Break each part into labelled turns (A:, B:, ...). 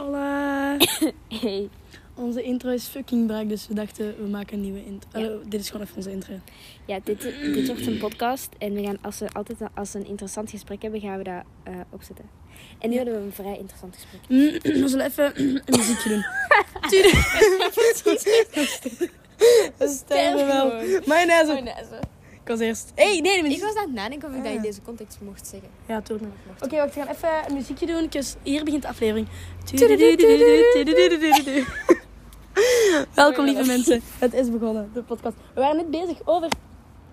A: Hola.
B: Hey.
A: Onze intro is fucking braak, dus we dachten we maken een nieuwe intro.
B: Ja.
A: Eh, dit is gewoon even onze intro.
B: Ja, dit, dit wordt een podcast en we gaan als we altijd een- als we een interessant gesprek hebben, gaan we dat eh, opzetten. En nu
A: Ja.
B: hadden we een vrij interessant gesprek.
A: Mm, We zullen even een muziekje doen. We sterven wel. Mijn naam is op. Ik was eerst. hey, nee, de
C: Ik
A: muziek.
C: was aan het nadenken of ik dat in
A: Ah.
C: deze context mocht zeggen.
A: Ja, tuurlijk.
C: Of mocht.
A: Oké, wacht, we gaan even een muziekje doen. kus. Hier begint de aflevering. Welkom, lieve mensen. Het is begonnen, de podcast. We waren net bezig over...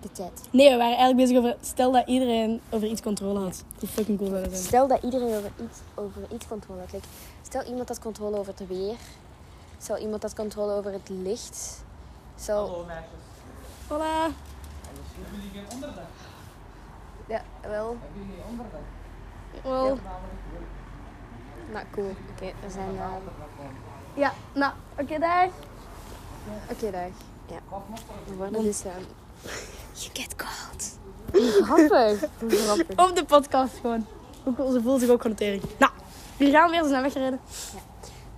C: De tijd.
A: Nee, we waren eigenlijk bezig over... Stel dat iedereen over iets controle had. Hoe fucking cool zou dat zijn.
B: Stel dat iedereen over iets, over iets controle heeft. Like, stel iemand had controle over het weer. Stel iemand had controle over het licht. Stel,
D: Hallo meisjes.
A: Hola.
D: Hebben jullie geen onderdak?
B: ja, wel,
D: Hebben jullie geen onderdak?
A: Wel.
B: nou cool. Oké, er zijn... eh,
A: Ja, nou, oké, dag.
B: Oké, dag. Ja. We worden dus... eh, you get cold. Grappig. Grappig.
A: Op de podcast gewoon. Hoe cool, ze voelt zich ook gewoon tegen. Nou, hier gaan we weer. Ze zijn weggereden.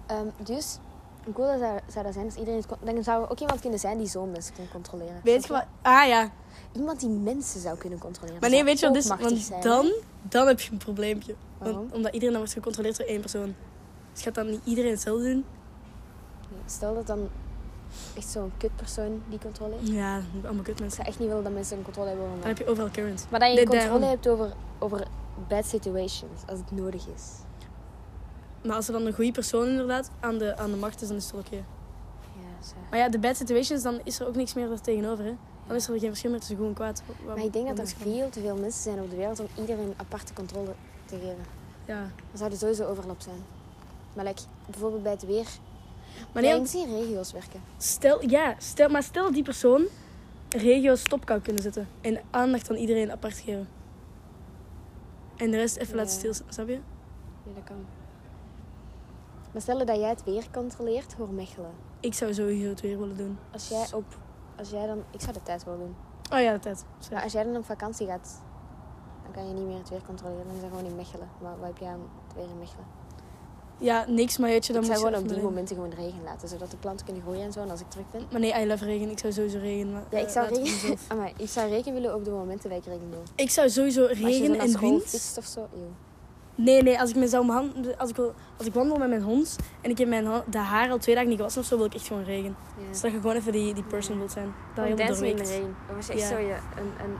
B: Ehm, dus, hoe cool dat zou, zou dat zijn als iedereen... het kon- Dan zou er ook iemand kunnen zijn die zo mensen kon controleren.
A: Weet je
B: Snap
A: wat... Ah ja.
B: Iemand die mensen zou kunnen controleren.
A: Maar nee,
B: Zou
A: weet je wat
B: ook
A: dit is?
B: machtig
A: Want
B: zijn.
A: dan, dan heb je een probleempje. Want-
B: Waarom?
A: omdat iedereen dan wordt gecontroleerd door één persoon. Dus gaat dan niet iedereen hetzelfde doen?
B: Stel dat dan echt zo'n kutpersoon die controle heeft.
A: Ja, allemaal kut
B: Ik
A: mensen.
B: zou echt niet willen dat mensen een controle hebben over
A: Dan
B: mij.
A: heb je overal current.
B: Maar dat je
A: Nee,
B: controle
A: daarom.
B: hebt over, over bad situations, als het nodig is.
A: Maar als er dan een goede persoon inderdaad aan de, aan de macht is, dan is het wel oké.
B: Ja, zo.
A: Maar ja, de bad situations, dan is er ook niks meer daar tegenover. Hè? Dan is er geen verschil meer tussen goed en kwaad. Wa- wa-
B: Maar ik denk dat
A: wa-
B: er veel te veel mensen zijn op de wereld om iedereen aparte controle te geven.
A: Ja.
B: Er zouden sowieso overlap zijn. Maar like, bijvoorbeeld bij het weer.
A: Maar
B: Maar
A: nee,
B: nee, ik zie regio's werken.
A: Stel, ja, stel, maar stel dat die persoon regio's stop kan kunnen zetten. En aandacht aan iedereen apart geven. En de rest even laten
B: Ja.
A: stilstaan, snap je?
B: Ja, dat kan. Maar stel dat jij het weer controleert, hoor Mechelen.
A: Ik zou sowieso het weer willen doen.
B: Als jij op... Als jij dan... Ik zou de tijd wel doen.
A: Oh ja, de tijd. Sorry.
B: Maar als jij dan op vakantie gaat, dan kan je niet meer het weer controleren. Dan is dat gewoon in Mechelen. Maar wat heb jij aan het weer in Mechelen?
A: Ja, niks, maar weet je, dan
B: ik
A: moet
B: zou
A: je...
B: gewoon op
A: even
B: die
A: alleen.
B: momenten gewoon regen laten, zodat de planten kunnen groeien en zo. En als ik terug ben...
A: Maar nee, I love regen. Ik zou sowieso regen. Maar,
B: Ja, ik
A: eh,
B: zou,
A: laten we
B: regen,
A: mezelf-
B: Amai, ik zou regen willen op de momenten dat ik regen wil.
A: Ik zou sowieso
B: Maar als je zo
A: regen
B: naar
A: en
B: school
A: wind...
B: fietst of zo, eeuw.
A: Nee, nee, als ik, me zou mijn hand, als, ik, wil- als ik wandel met mijn hond en ik heb mijn ha- de haar al twee dagen niet gewassen of zo, wil ik echt gewoon regen.
B: Ja.
A: Dus dat je gewoon even die, die person wilt zijn. Dat
B: Gewoon
A: je helemaal
B: Dancing in the
A: doorweekt.
B: Rain. Dat was echt
A: Ja.
B: zo je, een, een...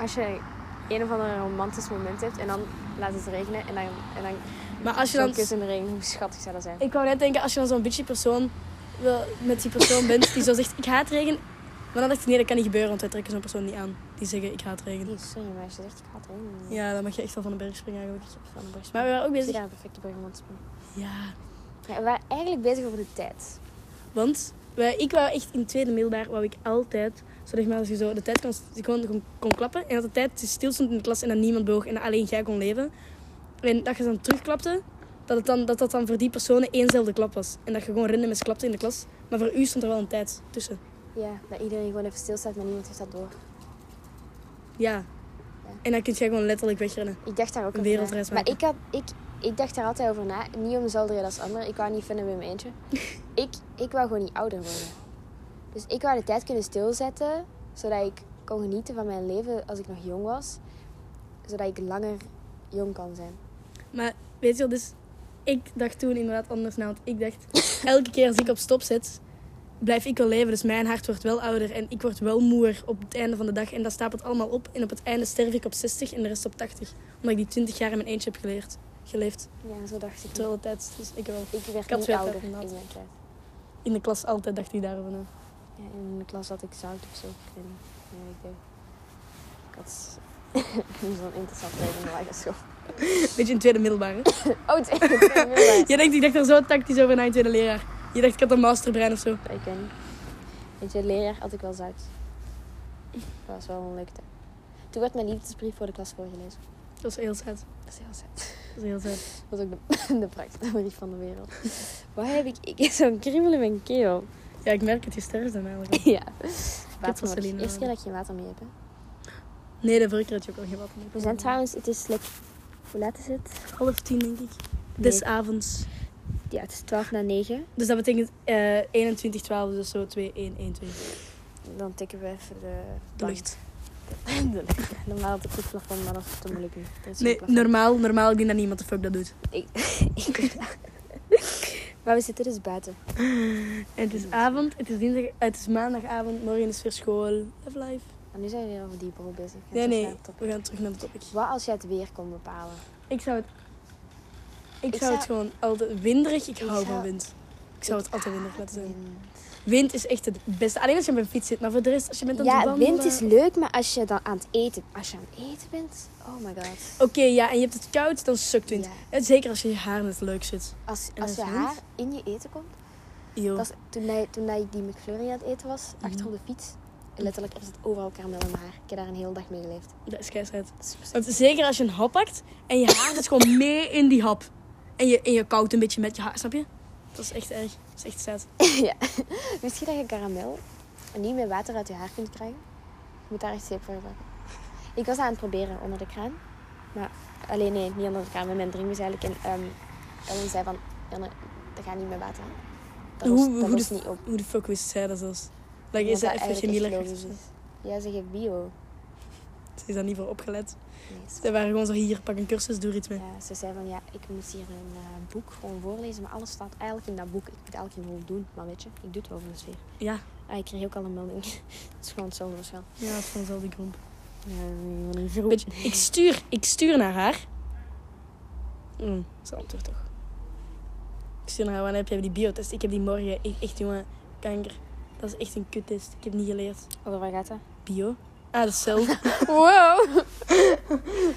B: Als je een of ander romantisch moment hebt en dan laat het regenen en dan... En dan
A: Maar als je
B: zo'n
A: dan...
B: kus in de regen, hoe schattig zou dat zijn?
A: Ik wou net denken, als je dan zo'n bitchy persoon wil, met die persoon bent die zo zegt, ik haat regen. Maar dan dacht ik, nee, dat kan niet gebeuren, want wij trekken zo'n persoon niet aan. Die zeggen, ik haat regen.
B: Nee, sorry meisje, zegt ik haat regen.
A: Ja, dan mag je echt wel van de berg springen eigenlijk.
B: Van de borst.
A: Maar we waren ook bezig...
B: daar een perfecte brug om aan te springen.
A: Ja,
B: Ja, we waren eigenlijk bezig over de tijd.
A: want wij, ik wou echt in het tweede middelbaar, wou ik altijd, zodat maar als je zo de tijd kon, gewoon kon, kon klappen. En dat de tijd stil stond in de klas en dat niemand bewoog en dat alleen jij kon leven. En dat je dan terugklapte, dat, het dan, dat dat dan voor die personen éénzelfde klap was. En dat je gewoon random eens klapte in de klas. Maar voor u stond er wel een tijd tussen.
B: Ja, dat iedereen gewoon even stilstaat, maar niemand heeft dat door.
A: Ja. En dan kun jij gewoon letterlijk wegrennen.
B: Ik dacht daar ook
A: Een
B: over na.
A: wereldreis
B: Maar
A: maken.
B: ik, had, ik, ik dacht daar altijd over na. Niet om dezelfde reden als anderen. Ik wou niet vinden met mijn eentje. ik, ik wou gewoon niet ouder worden. Dus ik wou de tijd kunnen stilzetten. Zodat ik kon genieten van mijn leven als ik nog jong was. Zodat ik langer jong kan zijn.
A: Maar weet je wel, dus ik dacht toen inderdaad anders na. Want ik dacht, elke keer als ik op stop zit, blijf ik wel leven. Dus mijn hart wordt wel ouder en ik word wel moer op het einde van de dag. En dat stapelt allemaal op. En op het einde sterf ik op 60 en de rest op 80. Omdat ik die 20 jaar in mijn eentje heb geleerd, geleefd.
B: Ja, zo dacht ik.
A: Terwijl de tijd, dus ik wel.
B: Ik werd
A: had
B: niet
A: zoiets
B: ouder in
A: inderdaad.
B: mijn tijd.
A: In de klas altijd dacht ik daarover na.
B: Ja, in de klas had ik zout of zo. Ik weet niet. Ja, ik denk. Ik had zo'n interessant leven in de lagere school.
A: Beetje in tweede middelbare.
B: Oh, het is een middelbaar.
A: Je denkt, ik dacht er zo tactisch over na in tweede leraar. Je dacht, ik had een masterbrein of zo.
B: Ik weet niet. Weet je, leraar had ik wel zout. Dat was wel een leuke tijd. Toen werd mijn liefdesbrief voor de klas voorgelezen.
A: Dat was heel zet.
B: Dat is heel zet.
A: Dat was heel zet.
B: Dat was ook de, de prachtigste brief van de wereld. Waar heb ik, ik heb zo'n kriebel in mijn keel.
A: Ja, ik merk het, je sterft dan eigenlijk. al.
B: Ja. Water nodig.
A: Vaseline
B: Eerste
A: nodig.
B: keer dat ik geen water mee heb. hè.
A: Nee, de vorige keer had je ook al geen water meer.
B: We zijn trouwens, het is lekker... Hoe laat is het?
A: half tien, denk ik. des avonds.
B: Ja, het is 12 na 9.
A: Dus dat betekent eh 21, 12, dus zo 2, 1, 1, 2.
B: Dan tikken we even de...
A: De
B: bank.
A: lucht.
B: De lucht. Normaal had ik het plafond, maar dat is natuurlijk niet. Er is geen
A: Nee,
B: plafond.
A: normaal, normaal, ik denk dat niemand de fuck dat doet.
B: Ik weet dat. Maar we zitten dus buiten.
A: Het is avond, het is, dinsdag, het is maandagavond, morgen is weer school. Love life.
B: En nu zijn we weer over die borrel bezig. Gaat
A: Nee,
B: zo
A: nee,
B: snel top.
A: we gaan terug naar de topic.
B: Wat als jij het weer kon bepalen?
A: Ik zou het... Ik,
B: Ik
A: zou het gewoon altijd... Winderig, ik
B: Ik
A: hou van
B: zou-
A: wind. Ik zou het altijd winderig laten zijn.
B: Mm.
A: Wind is echt het beste. Alleen als je op een fiets zit, maar voor de rest, als je bent aan het
B: Ja,
A: wandelen...
B: wind is leuk, maar als je dan aan het eten, als je aan het eten bent, oh my god.
A: Oké, ja, en je hebt het koud, dan sukt wind.
B: Ja.
A: En Zeker als je je haar net leuk zit.
B: Als,
A: En Oh.
B: als je
A: als wind?
B: haar in je eten komt.
A: Yo.
B: Dat is, toen, hij, toen hij die McFlurry aan het eten was,
A: Mhm.
B: achter op de fiets, letterlijk er zit overal karamel in mijn haar. Ik heb daar een hele dag mee geleefd.
A: Dat is keisheid.
B: Dat is super
A: Want zeker als je een hap pakt en je haar zit gewoon mee in die hap. En je, en je koudt een beetje met je haar, snap je? Dat is echt erg. Dat is echt sad.
B: sick. Wist je dat je karamel niet meer water uit je haar kunt krijgen? Je moet daar echt zeep voor gebruiken. Ik was dat aan het proberen onder de kraan. Maar, alleen nee, niet onder de kraan, met mijn drinkbus eigenlijk. En ehm Ellen zei van, Janne, dat gaat niet meer water aan. Dat
A: Hoe-
B: lost,
A: hoe
B: dat
A: de
B: lost
A: f-
B: niet op.
A: Hoe de fuck wist zij dat zelfs? Like,
B: Omdat
A: is dat even
B: eigenlijk echt
A: chemieleraar?
B: logisch is. Ja, ze geeft bio.
A: Ze is daar niet voor opgelet.
B: Nee,
A: Ze waren gewoon zo hier, pak een cursus, doe er iets mee.
B: Ja, ze zei van ja, ik moet hier een eh, boek gewoon voorlezen, maar alles staat eigenlijk in dat boek. Ik moet eigenlijk geen hol doen, maar weet je, ik doe het wel voor de sfeer.
A: Ja,
B: Ah, ik kreeg ook al een melding. het is gewoon hetzelfde waarschijnlijk.
A: ja het is van dezelfde grond.
B: Ja, een groep.
A: Weet je, ik stuur, ik stuur naar haar. Mm, dat is antwoord toch. Ik stuur naar haar, wanneer heb jij die biotest? Ik heb die morgen. Ik, echt jongen, kanker. Dat is echt een kuttest. Ik heb niet geleerd.
B: Over waar gaat dat?
A: Bio? Ah, dat is zelf. wow!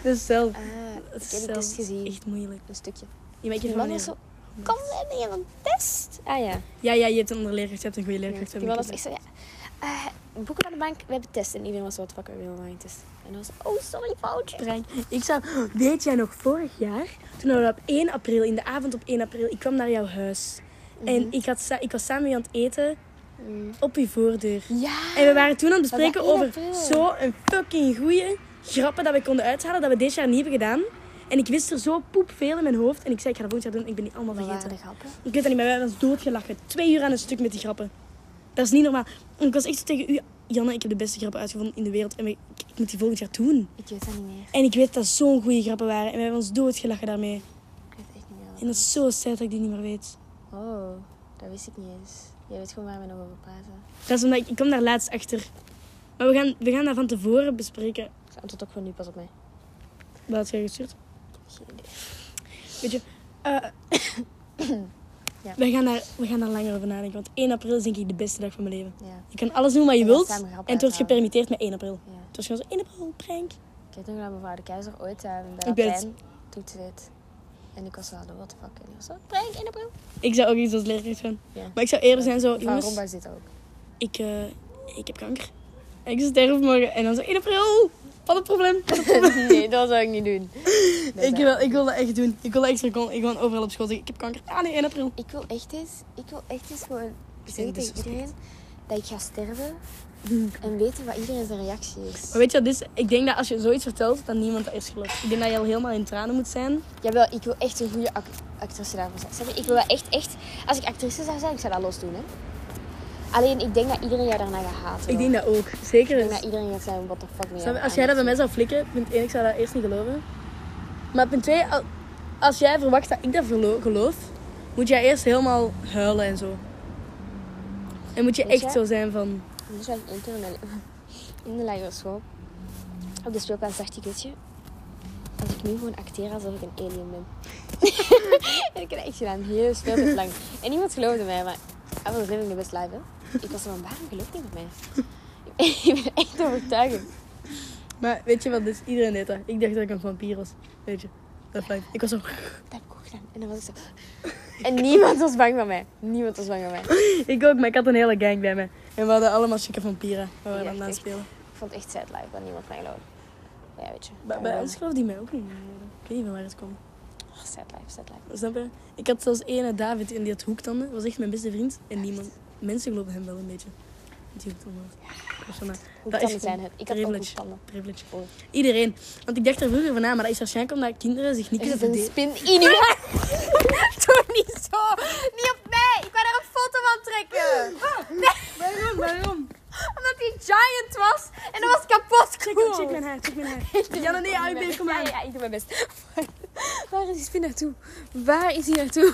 A: dat is zelf.
B: Ah,
A: Dat is
B: ik heb die
A: zelf.
B: test gezien.
A: Echt moeilijk.
B: Een stukje.
A: Je weet je
B: Die
A: van
B: man was zo,
A: wanneer-
B: kom we hier een test. Ah ja.
A: Ja, ja, je hebt een andere leerkracht. Je hebt een goede
B: ja.
A: leerkracht.
B: Die man was echt zo, ja. eh, boeken aan de bank, we hebben test. En iedereen was zo, wat pakken we willen een test. En dan was het, oh sorry, foutje.
A: Frank, Ik zou, weet jij nog, vorig jaar, toen we op 1 april, in de avond op 1 april, ik kwam naar jouw huis.
B: Mhm.
A: En ik, had, sa- ik was samen met je aan het eten op uw voordeur.
B: Ja.
A: En we waren toen aan het
B: Dat was
A: bespreken
B: één
A: over
B: april.
A: zo'n fucking goeie grappen dat we konden uithalen, dat we dit jaar niet hebben gedaan. En ik wist er zo poepveel in mijn hoofd. En ik zei, ik ga dat volgend jaar doen, ik ben die allemaal
B: Wat waren
A: vergeten.
B: de grappen?
A: Ik weet dat niet, maar wij hebben ons doodgelachen. Twee uur aan een stuk met die grappen. Dat is niet normaal. En ik was echt zo tegen u, Janne, ik heb de beste grappen uitgevonden in de wereld. En we- ik, ik moet die volgend jaar doen.
B: Ik weet dat niet meer.
A: En ik weet dat zo'n goede grappen waren. En we hebben ons doodgelachen daarmee.
B: Ik weet echt niet meer. wat
A: En dat is zo sad dat ik die niet meer weet.
B: Oh, dat wist ik niet eens. Jij weet gewoon waar we nog over praten.
A: Dat is omdat ik, ik kwam daar laatst achter. Maar we gaan, we gaan dat van tevoren bespreken.
B: Ik antwoord ook gewoon nu pas op mij.
A: Wat had jij gestuurd?
B: Geen idee.
A: Weet je, eh,
B: Ja.
A: we, gaan daar, we gaan daar langer over nadenken. Want 1 april is denk ik de beste dag van mijn leven.
B: Ja,
A: Je kan alles doen wat je
B: En dan
A: wilt.
B: samen
A: En
B: grappen
A: het wordt
B: uithalen.
A: gepermitteerd met 1 april.
B: ja.
A: Het was gewoon zo 1 april, prank.
B: Ik weet nog dat mevrouw de keizer ooit eh,
A: Ik
B: bij
A: ben
B: Latijn toetste dit. En ik was zo, what the fuck? En ik was zo, prank in april.
A: Ik zou ook iets als leerkracht gaan.
B: Ja.
A: Maar ik zou eerder zijn zo,
B: Mevrouw
A: Oh, jongens,
B: Romba zit ook.
A: ik, eh, ik heb kanker. En ik sterf morgen. En dan zo 1 april. Wat een probleem.
B: nee, dat zou ik niet doen. Dus, eh, Dat
A: Ik
B: zou-
A: wil, ik wil dat echt doen. Ik wil dat echt zo gewoon, ik gewoon overal op school zeggen, ik heb kanker. Ah nee, 1 april.
B: Ik wil echt eens, ik wil echt eens gewoon zeggen
A: vind dit
B: tegen
A: zo
B: iedereen dat ik ga sterven. En weten wat iedereen zijn reactie is.
A: Maar weet je wat, dit is, ik denk dat als je zoiets vertelt, dat niemand dat eerst gelooft. Ik denk dat je al helemaal in tranen moet zijn.
B: Jawel, ik wil echt een goede ac- actrice daarvoor zijn. Snap je? Ik wil wel echt, echt... Als ik actrice zou zijn, ik zou dat los doen, hè. Alleen, ik denk dat iedereen jou daarna gaat haten.
A: Ik
B: hoor.
A: denk dat ook. Zeker.
B: Ik denk
A: is.
B: dat iedereen gaat zijn, what the fuck mee.
A: Snap je? Als jij dat bij mij zou flikken, punt 1, ik zou dat eerst niet geloven. Maar punt 2, als jij verwacht dat ik dat verlo- geloof, moet jij eerst helemaal huilen en zo. En moet je
B: Weet
A: echt
B: je?
A: zo zijn van...
B: Dus wij één keer in de, in de lagere school. Op de speelplaats dacht ik, weet je... Als ik nu gewoon acteer alsof ik een alien ben. en ik heb dat echt gedaan, heel speelplaats lang. En niemand geloofde mij, maar... I was living the best life, hè. Ik was er van, waarom gelooft niemand mij? ik ben echt overtuigend.
A: Maar weet je wat, dus iedereen deed dat. Ik dacht dat ik een vampier was. Weet je, dat fijn. Ik was zo...
B: Dat heb ik ook gedaan. En dan was ik zo. En niemand was bang van mij. Niemand was bang van mij.
A: Ik ook, maar ik had een hele gang bij mij. En we hadden allemaal chique vampieren. We waren
B: Ja,
A: aan het
B: echt.
A: spelen.
B: Ik vond het echt sad life dat niemand mij geloofde. Maar ja, weet je.
A: Bij, bij ons geloofde die mij ook niet. Ik weet niet van waar het kwam.
B: Oh, sad life, sad life.
A: Snap je? Ik had zelfs ene David en die had hoektanden. Dat was echt mijn beste vriend. En niemand... Mensen geloven hem wel een beetje. Met die hoektanden. Dat was van mij.
B: Hoe
A: Dat
B: kan
A: is
B: het
A: gewoon
B: zijn? Ik had ook
A: privilege.
B: goed tanden.
A: Privilege.
B: Oh.
A: Iedereen. Want ik dacht er vroeger van, ah, maar dat is waarschijnlijk omdat kinderen zich niet
B: Er
A: kunnen
B: zit een
A: verdedigen.
B: spin in uw haar.
A: haar, trek mijn haar. Janne, nee, AUB, kom
B: ja,
A: aan.
B: ja, ik doe mijn best. Waar is die spin naartoe? Waar is die naartoe?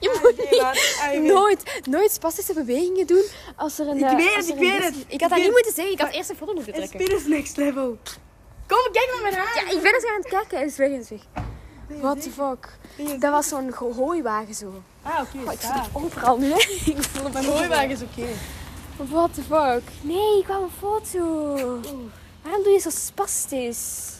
B: Je moet
A: AUB,
B: niet-
A: maat, AUB.
B: nooit, nooit spastische bewegingen doen als er een... eh,
A: Ah, Ik weet
B: als
A: het,
B: er
A: ik
B: een
A: weet
B: mes-
A: het.
C: Ik had dat niet moeten zeggen. Ik had eerst een foto moeten
A: En
C: trekken.
A: spin is next level. Kom, kijk naar mijn haar.
B: Ja, ik ben eens aan het kijken. Het is weg, het is weg. What the fuck? Dat was zo'n ge- hooiwagen zo.
A: Ah, oké.
B: Oh, ik voel het overal nu, hè. Ik voel het
A: Mijn hooiwagen is oké.
B: What the fuck? Nee, ik kwam een foto. Waarom doe je zo spastisch?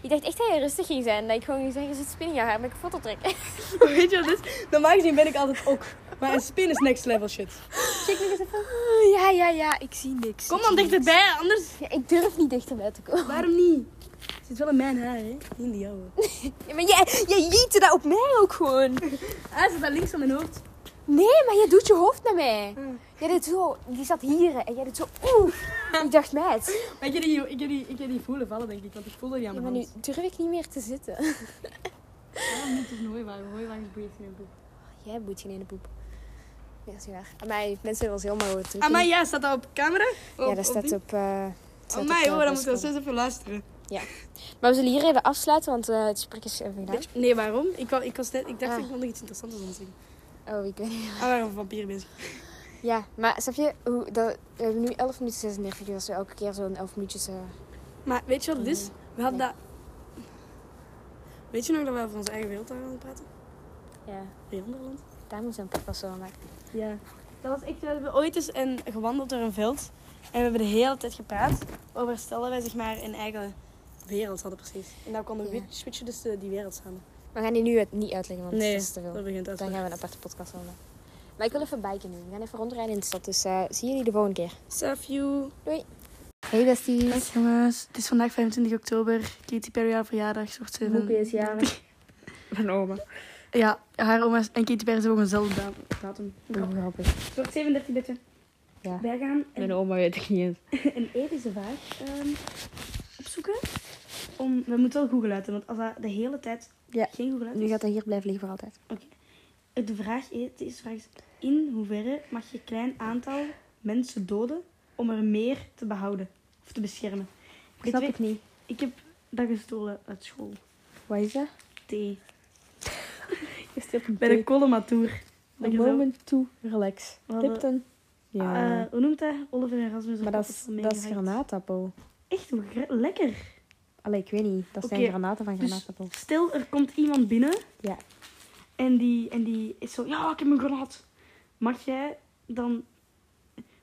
B: Ik dacht echt dat je rustig ging zijn. Dat ik gewoon ging zeggen, zit spin in je haar, maar ik een foto trekken.
A: Weet je wat het is? Normaal gezien ben ik altijd ook. Maar een spin is next level shit.
B: Ah, Ja, ja, ja. Ik zie niks.
A: Kom dan dichterbij, anders...
B: Ja, ik durf niet dichterbij te komen.
A: Waarom niet? Het zit wel in mijn haar, hè? Niet in die jouwe.
B: Ja, maar jij, jij jiette dat op mij ook gewoon.
A: Ah, het zit daar links aan mijn hoofd.
B: Nee, maar jij doet je hoofd naar mij. Jij deed zo, die zat hier hè, en jij deed zo, oeh. ik dacht, meid.
A: Maar ik heb die, ik heb die, ik heb die voelen vallen, denk ik. Want ik voelde die aan
B: Ja,
A: mijn
B: maar nu
A: hand.
B: durf ik niet meer te zitten.
A: Waarom niet een hooiwagen? Hooiwagens breekt geen boek.
B: Jij boeit geen ene poep. Ja, dat is niet waar. Amai, mensen willen ons helemaal terug.
A: Amai, ja, staat dat op camera?
B: Ja, dat staat op... eh staat op,
A: Amai,
B: eh,
A: hoor, dan
B: Bosco.
A: moeten we zo even luisteren.
B: Maar we zullen hier even afsluiten, want eh, het gesprek is even gedaan.
A: Nee, waarom? Ik, wou- ik, was net, ik dacht,
B: Ah.
A: ik kon nog iets interessants aan zeggen.
B: Oh, ik weet niet.
A: Ah, we waren over papier bezig.
B: Ja, maar snap je, hoe, dat, we hebben nu 11 minuten 36, dus als we elke keer zo'n 11 minuutjes... eh,
A: Maar weet je wat het
B: Ah.
A: is? We hadden dat... Weet je nog dat we over onze eigen wereld waren aan het praten?
B: ja,
A: Wereldland?
B: daar moeten we een podcast over maken.
A: Ja. Dat was echt, we hebben ooit eens een, gewandeld door een veld. En we hebben de hele tijd gepraat over stel dat wij zeg maar een eigen wereld hadden precies. En dan konden we
B: Ja.
A: wit- switchen tussen die wereld samen.
B: We gaan die nu het niet uitleggen, want
A: Nee,
B: dat is te veel.
A: Dat begint uit.
B: Dan gaan we een aparte podcast over. Maar ik wil even biken nu. We gaan even rondrijden in de stad, dus eh, zie jullie de volgende keer.
A: Saf you.
B: Hey besties.
A: jongens, het is vandaag 25 oktober. Katy Perry haar verjaardag, soort
B: is jarig. Mijn oma.
A: Ja, haar oma's en Katy Perry hebben ook eenzelfde datum. Oh,
B: Grappig.
A: Soort 37 bitte.
B: Ja.
A: Wij gaan
B: Mijn oma weet ik niet eens.
A: een epische vaag ehm, opzoeken. Om, we moeten wel Google uiten, want als dat de hele tijd
B: Ja.
A: geen Google uit
B: Nu
A: is-
B: gaat hij hier blijven liggen voor altijd.
A: De vraag is, de eerste vraag is, in hoeverre mag je een klein aantal mensen doden om er meer te behouden of te beschermen?
B: Ik snap
A: weet-
B: ik niet.
A: Ik heb dat gestolen uit school.
B: Wat is dat?
A: Thee.
B: Je stilt een
A: Bij de collematour.
B: Een moment to relax.
A: We hadden-
B: Lipton. Ja.
A: Ja. Eh, hoe noemt dat? Oliver en Rasmus. op
B: maar dat is,
A: appel
B: dat is
A: meegehakt.
B: granaatappel.
A: Echt hoe gra- lekker.
B: Allee, ik weet niet. Dat zijn
A: Oké,
B: granaten van
A: dus-
B: granaatappel.
A: Stel, er komt iemand binnen
B: Ja.
A: en die, en die is zo, ja, ik heb een granaat. Mag jij dan...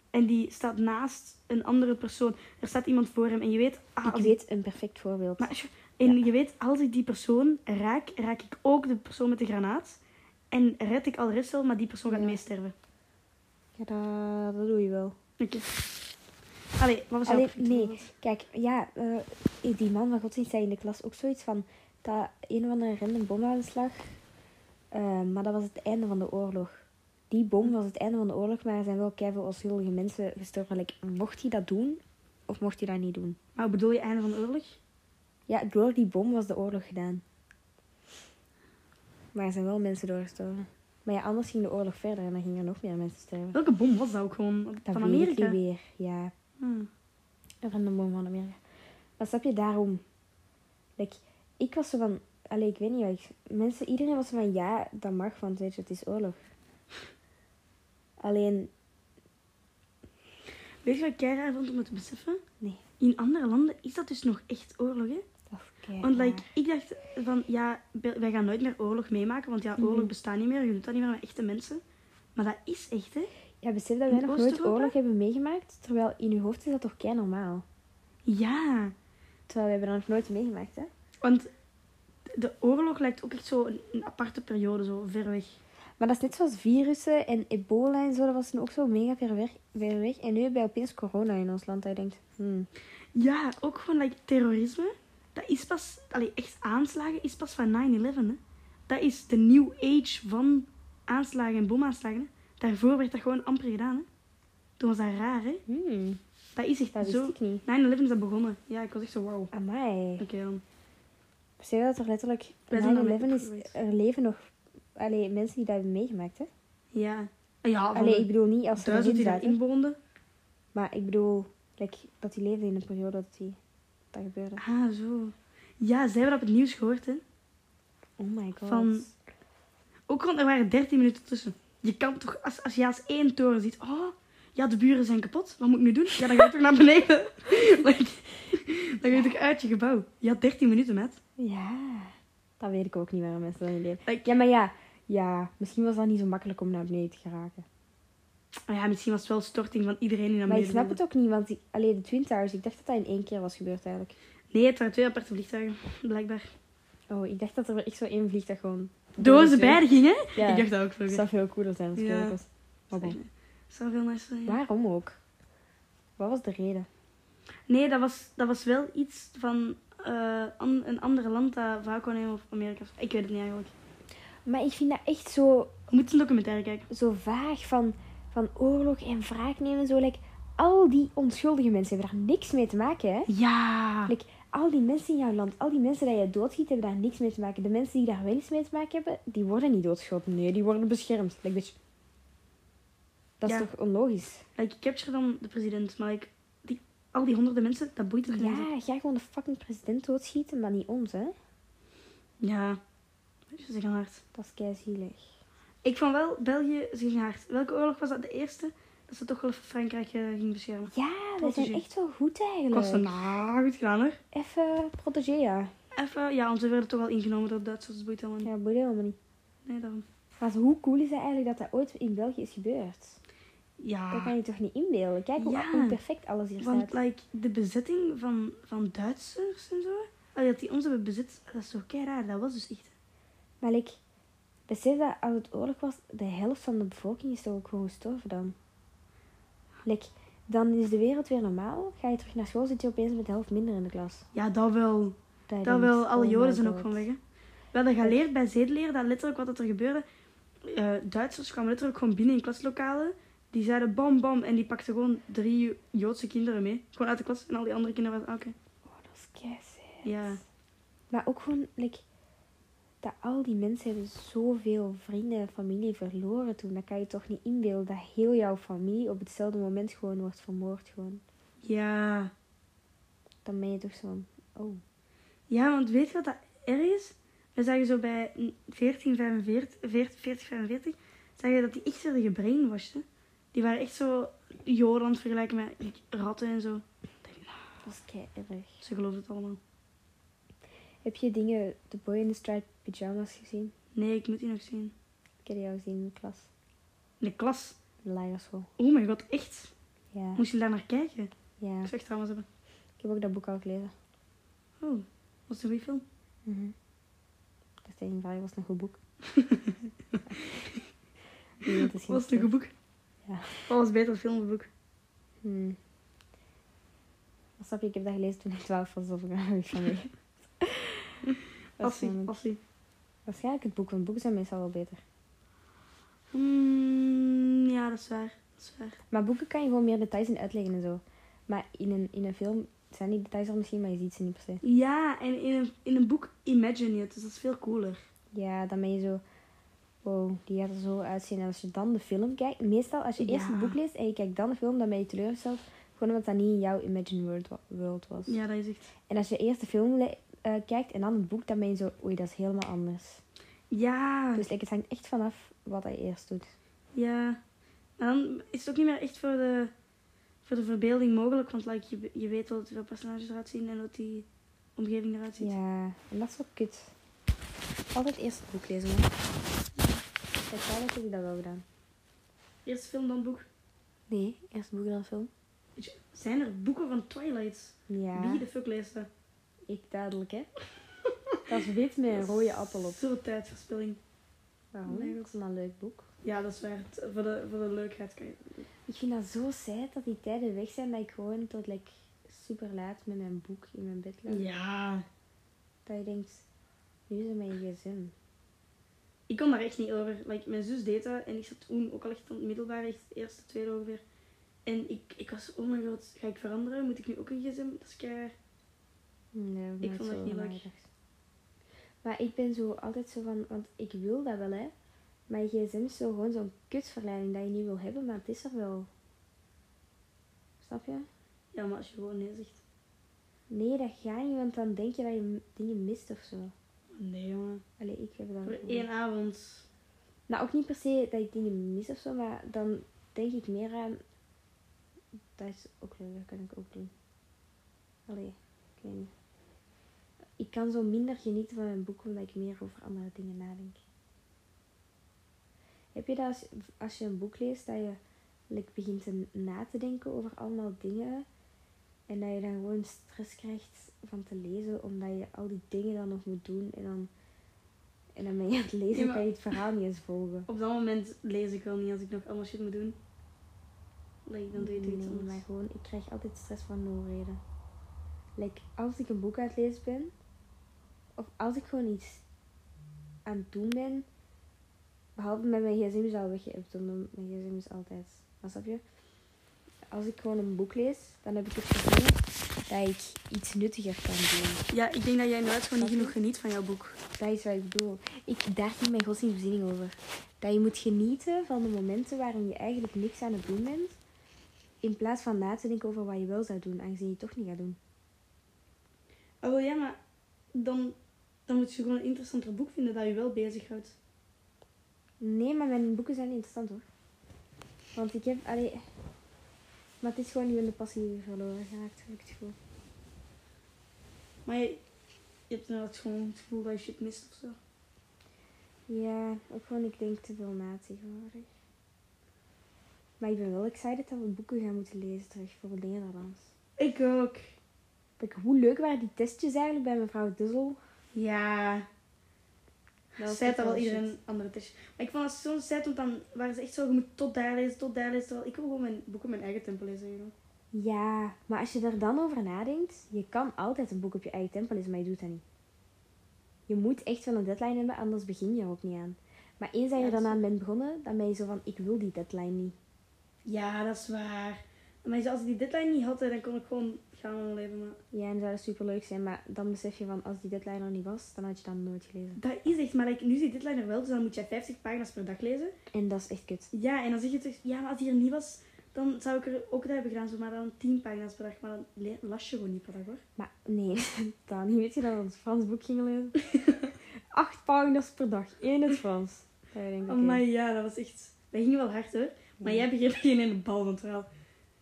A: En die staat naast een andere persoon. Er staat iemand voor hem en je weet... Ah,
B: Ik
A: als-
B: weet een perfect voorbeeld.
A: Maar, sjo- en je weet, als ik die persoon raak, raak ik ook de persoon met de granaat. En red ik al de rest wel, maar die persoon gaat
B: Ja.
A: meesterven.
B: Ja, dat, dat doe je wel.
A: Oké. Allee, wat was jouw
B: Allee,
A: perfecte
B: nee.
A: voorbeeld?
B: Kijk, ja, eh, die man van godsdienst zei in de klas ook zoiets van dat een van een random bomaanslag, eh, maar dat was het einde van de oorlog. Die bom was het einde van de oorlog, maar er zijn wel keihard onschuldige mensen gestorven. Like, mocht hij dat doen of mocht hij dat niet doen?
A: Maar Nou, bedoel je einde van de oorlog?
B: Ja, door die bom was de oorlog gedaan. Maar er zijn wel mensen doorgestorven. Maar ja, anders ging de oorlog verder en dan gingen er nog meer mensen sterven.
A: Welke bom was dat ook gewoon? van
B: Dat weet ik
A: Amerika?
B: niet weer, ja.
A: Hmm.
B: Een random boom van Amerika. Maar snap je, daarom... Like, ik was zo van... Allee, ik weet niet. like, mensen, iedereen was zo van... Ja, dat mag, want weet je, het is oorlog. Alleen...
A: Weet je wat ik kei raar vond om het te beseffen?
B: Nee.
A: In andere landen is dat dus nog echt oorlog, hè?
B: Dat is kei
A: Want
B: raar.
A: like, ik dacht van, ja, we- wij gaan nooit meer oorlog meemaken. Want ja,
B: Mhm.
A: oorlog bestaat niet meer. Je doet dat niet meer met echte mensen. Maar dat is echt, hè?
B: Ja, besef dat wij
A: in
B: nog nooit
A: Oost-Europa?
B: oorlog hebben meegemaakt. Terwijl in uw hoofd is dat toch kei normaal.
A: Ja.
B: Terwijl we hebben dat nog nooit meegemaakt, hè.
A: Want de oorlog lijkt ook echt zo een, een aparte periode, zo ver weg.
B: Maar dat is net zoals virussen en ebola en zo. Dat was toen ook zo mega ver weg. Ver weg. En nu hebben we opeens corona in ons land. Dat je denkt... Hmm,
A: Ja, ook gewoon like, terrorisme. Dat is pas, allee, echt aanslagen is pas van 9-11. hè. Dat is de new age van aanslagen en bomaanslagen. hè. Daarvoor werd dat gewoon amper gedaan. Hè. Toen was dat raar, hè?
B: hmm,
A: Dat is echt
B: dat wist
A: zo. 9-11
B: ik niet.
A: is dat begonnen. Ja, ik was echt zo wow. Oké
B: Amai.
A: dan.
B: Besef je dat er letterlijk...
A: Wij zijn daarmee
B: 9-11 is...
A: opgegroeid.
B: Er leven nog... Allee, mensen die dat hebben meegemaakt, hè.
A: Ja. Ah, Ja, Ah, van
B: Allee, ik
A: de
B: bedoel niet als ze
A: duizend
B: erin
A: die daarin
B: zaten.
A: woonden.
B: Maar ik bedoel... like, dat die leefden in een periode dat die... dat gebeurde.
A: Ah, zo. Ja, zij hebben dat op het nieuws gehoord, hè.
B: Oh my god.
A: Van... Ook want er waren 13 minuten tussen. Je kan toch, als, als je als één toren ziet... Oh, ja, de buren zijn kapot. Wat moet ik nu doen? Ja, dan ga je toch naar beneden. Like, dan ga je toch uit je gebouw. Je had 13 minuten, met.
E: Ja, dat weet ik ook niet waarom mensen dat niet deden.
A: Like-
E: ja, maar ja, ja, misschien was dat niet zo makkelijk om naar beneden te geraken.
A: Maar Ah ja, misschien was het wel storting van iedereen die naar
E: maar ik
A: beneden
E: snap
A: wilde.
E: het ook niet, want die, alleen de Twin Towers, ik dacht dat dat in één keer was gebeurd eigenlijk.
A: Nee, het waren twee aparte vliegtuigen, blijkbaar.
E: Oh, ik dacht dat er echt zo één vliegtuig gewoon...
A: Door ze
E: Door de
A: beiden gingen?
E: Ja,
A: Ik dacht dat ook
E: dat
A: vroeger.
E: zou veel cooler zijn als het
A: Ja.
E: eerlijk was. Maar bon.
A: Zou veel nicer zijn. ja.
E: Waarom ook? Wat was de reden?
A: Nee, dat was, dat was wel iets van eh, an- een ander land dat vaak kon nemen of Amerika. of zo. Ik weet het niet eigenlijk.
E: Maar ik vind dat echt zo,
A: We moeten een documentaire kijken.
E: zo vaag van, van oorlog en wraak nemen. en Zo, like, al die onschuldige mensen hebben daar niks mee te maken, hè?
A: Ja.
E: Like, al die mensen in jouw land, al die mensen die je doodschiet, hebben daar niks mee te maken. De mensen die daar wel iets mee te maken hebben, die worden niet doodgeschoten. Nee, die worden beschermd. Like, bitch. Dat is
A: Ja.
E: toch onlogisch?
A: Like, capture dan de president, maar like, die, al die honderden mensen, dat boeit het niet.
E: Ja, ga gewoon de fucking president doodschieten, maar niet ons, hè?
A: Ja. Ze gaan hard.
E: Dat is keizielig.
A: Ik vond wel België, ze ging hard. Welke oorlog was dat? De eerste? Dat ze toch wel even Frankrijk eh, ging beschermen.
E: Ja, wij zijn
A: Protégé.
E: echt wel goed
A: Kost een
E: eigenlijk.
A: ah, goed gedaan hoor.
E: Even protégé, ja.
A: Even, ja, want ze werden toch al ingenomen door Duitsers, dat boeit helemaal niet.
E: Ja, boeit helemaal niet.
A: Nee, daarom.
E: Maar hoe cool is dat eigenlijk dat dat ooit in België is gebeurd? Dat
A: Ja.
E: kan je toch niet inbeelden? Kijk hoe,
A: Ah. Ja.
E: hoe perfect alles hier
A: Want
E: staat.
A: like, de bezetting van, van Duitsers en zo, allee, dat die ons hebben bezet, dat is toch kei raar. Dat was dus echt.
E: Maar ik besef dat als het oorlog was, de helft van de bevolking is toch ook gewoon gestorven dan. Like, dan is de wereld weer normaal. Ga je terug naar school, zit je opeens met de helft minder in de klas.
A: Ja, dat wel.
E: je
A: Dat
E: denkt,
A: wel. Alle
E: oh
A: Joden
E: my
A: zijn ook
E: God.
A: gewoon weg. Hè. We hadden geleerd bij zedeleer dat letterlijk wat dat er gebeurde. eh, Duitsers kwamen letterlijk gewoon binnen in klaslokalen. Die zeiden bam bam en die pakten gewoon drie Joodse kinderen mee. Gewoon uit de klas en al die andere kinderen waren ah, oké.
E: Oh, dat is keizig.
A: Ja.
E: Maar ook gewoon, like, dat al die mensen hebben zoveel vrienden en familie verloren toen. Dan kan je toch niet inbeelden dat heel jouw familie op hetzelfde moment gewoon wordt vermoord. Gewoon.
A: Ja.
E: Dan ben je toch zo van, oh.
A: Ja, want weet je wat dat erg is? We zagen zo bij 1445, 4045, zag je dat die echt werden gebrainwashed. hè. Die waren echt zo Joran vergelijken met ratten en zo.
E: Dat is kei erg.
A: Ze geloven het allemaal.
E: Heb je dingen, The Boy in the Striped Pyjamas gezien?
A: Nee, ik moet die nog zien.
E: Ik heb die al gezien in de klas.
A: In de klas.
E: De lagere school.
A: Oh mijn god, echt?
E: Ja.
A: Moest je daar naar kijken?
E: ja.
A: Ik zou echt trouwens hebben.
E: Ik heb ook dat boek al gelezen.
A: Oh, was het een goede film?
E: Dat is tegen vraag, was het een goed boek? Nee, dat is geen
A: was het een goed boek?
E: Ja.
A: Wat was beter dan film of boek?
E: Hmm. Maar Snap je, ik heb dat gelezen toen ik 12 was, of ik daar niet van mee. Dat is
A: Assie,
E: namelijk-
A: Assie.
E: Waarschijnlijk het boek, want boeken zijn meestal wel beter.
A: Hmm, ja, dat is waar. Dat is waar.
E: Maar boeken kan je gewoon meer details in uitleggen en zo. Maar in een, in een film zijn die details er misschien, maar je ziet ze niet per se.
A: Ja, en in een, in een boek imagine je het, dus dat is veel cooler.
E: Ja, dan ben je zo... Wow, die gaat er zo uitzien. En als je dan de film kijkt... Meestal, als je eerst
A: Ja.
E: het boek leest en je kijkt dan de film, dan ben je teleurgesteld. Gewoon omdat dat niet in jouw Imagine World, wa- world was.
A: Ja, dat is echt.
E: En als je eerst de film le- eh, kijkt en dan het boek, dan ben je zo... Oei, dat is helemaal anders.
A: Ja,
E: Dus like, het hangt echt vanaf wat hij eerst doet.
A: ja. Maar dan is het ook niet meer echt voor de, voor de verbeelding mogelijk, want like, je, je weet wel dat hoeveel personages eruit zien en dat die omgeving eruit ziet.
E: Ja, en dat is wel kut. Altijd eerst het boek lezen, man. Kijk, eigenlijk heb ik dat wel gedaan.
A: Eerst film, dan boek.
E: Nee, eerst het boek dan film.
A: Weet je, Zijn er boeken van Twilight? Wie
E: Ja,
A: de fuck leest dat?
E: ik dadelijk, hè. Dat is wit met een rode appel op.
A: Zo'n tijdverspilling.
E: Waarom?
A: Nee,
E: Dat is maar een leuk boek.
A: Ja, dat is waar. Het- Voor de, voor de leukheid kan je.
E: Ik vind dat zo sad dat die tijden weg zijn dat ik gewoon tot like, super laat met mijn boek in mijn bed lag.
A: Ja.
E: Dat je denkt, nu is het mijn gezin.
A: Ik kon daar echt niet over. Like, mijn zus deed dat en ik zat toen ook al echt aan het middelbaar, echt het eerste, tweede ongeveer. En ik, ik was, oh mijn god, ga ik veranderen? Moet ik nu ook een gsm? Dat is keihard.
E: Nee,
A: Ik vond dat niet leuk.
E: Maar ik ben zo altijd zo van, want ik wil dat wel hè. Maar je gsm is zo gewoon zo'n kutverleiding dat je niet wil hebben, maar het is er wel. Snap je?
A: Ja, maar als je gewoon nee zegt.
E: Nee, dat gaat niet, want dan denk je dat je m- dingen mist of zo.
A: Nee, jongen.
E: Allee, ik heb dat.
A: Voor
E: gewoon.
A: één avond.
E: Nou, ook niet per se dat ik dingen mis of zo, maar dan denk ik meer aan. Dat is ook leuk, dat kan ik ook doen. Allee, ik weet niet. Ik kan zo minder genieten van mijn boek omdat ik meer over andere dingen nadenk. Heb je dat als, als je een boek leest, dat je like, begint te na te denken over allemaal dingen en dat je dan gewoon stress krijgt van te lezen omdat je al die dingen dan nog moet doen en dan, en dan ben je aan het lezen
A: Ja, maar-
E: kan je het verhaal niet eens volgen.
A: Op dat moment lees ik wel niet als ik nog allemaal shit moet doen. Like, dan doe je toch iets
E: nee,
A: anders.
E: maar gewoon, ik krijg altijd stress van no reden. Like, als ik een boek aan het lezen ben, of als ik gewoon iets aan het doen ben, behalve met mijn gsm is al weggeëpt, want mijn gsm is altijd, maar snap je? Als ik gewoon een boek lees, dan heb ik het gevoel dat ik iets nuttiger kan doen.
A: Ja, ik denk dat jij nooit gewoon niet
E: Snap je?
A: genoeg geniet van jouw boek.
E: Dat is wat ik bedoel. Ik, daar ging mijn godsdienstvoorziening over. Dat je moet genieten van de momenten waarin je eigenlijk niks aan het doen bent. In plaats van na te denken over wat je wel zou doen, aangezien je het toch niet gaat doen.
A: Oh ja, maar dan, dan moet je gewoon een interessanter boek vinden dat je wel bezighoudt.
E: Nee, maar mijn boeken zijn interessant hoor. Want ik heb. Allee, maar het is gewoon nu in de passie verloren geraakt, heb ik het gevoel.
A: Maar je, je hebt inderdaad gewoon het gevoel dat je shit mist of zo.
E: Ja, ook gewoon, ik denk te veel na tegenwoordig. Maar ik ben wel excited dat we boeken gaan moeten lezen terug voor Nederlands.
A: Ik ook.
E: Kijk, hoe leuk waren die testjes eigenlijk bij mevrouw Dussel?
A: Ja.
E: Dat was
A: Zij
E: echt
A: had al
E: wel
A: iedereen andere testje. Maar ik vond het zo'n set, want dan waren ze echt zo, je moet tot daar lezen, tot daar lezen. Terwijl ik wil gewoon mijn boek in mijn eigen tempo lezen. You know?
E: Ja, maar als je er dan over nadenkt, je kan altijd een boek op je eigen tempo lezen, maar je doet dat niet. Je moet echt wel een deadline hebben, anders begin je er ook niet aan. Maar eens dat
A: Ja,
E: je er
A: dat
E: dan
A: is-
E: aan bent begonnen, dan ben je zo van, ik wil die deadline niet.
A: Ja, dat is waar. Maar als ik die deadline niet had, dan kon ik gewoon gaan mijn leven. Maar
E: Ja, en zou dat superleuk zijn, maar dan besef je van, als die deadline er niet was, dan had je dat nooit gelezen.
A: dat is echt, maar like, nu is die deadline er wel, dus dan moet jij 50 pagina's per dag lezen.
E: En dat is echt kut.
A: Ja, en dan zeg je toch, ja, maar als die er niet was, dan zou ik er ook dat hebben gedaan, zo, maar dan 10 pagina's per dag. Maar dan le- las je gewoon niet per dag hoor.
E: Maar nee, dan niet. Weet je dat we ons Frans boek gingen lezen? Acht pagina's per dag, één in het Frans. Dat je denkt, oké.
A: Oh my ja, dat was echt. Mm. Dat ging wel hard hoor. Maar jij begreep geen in de bal van het verhaal.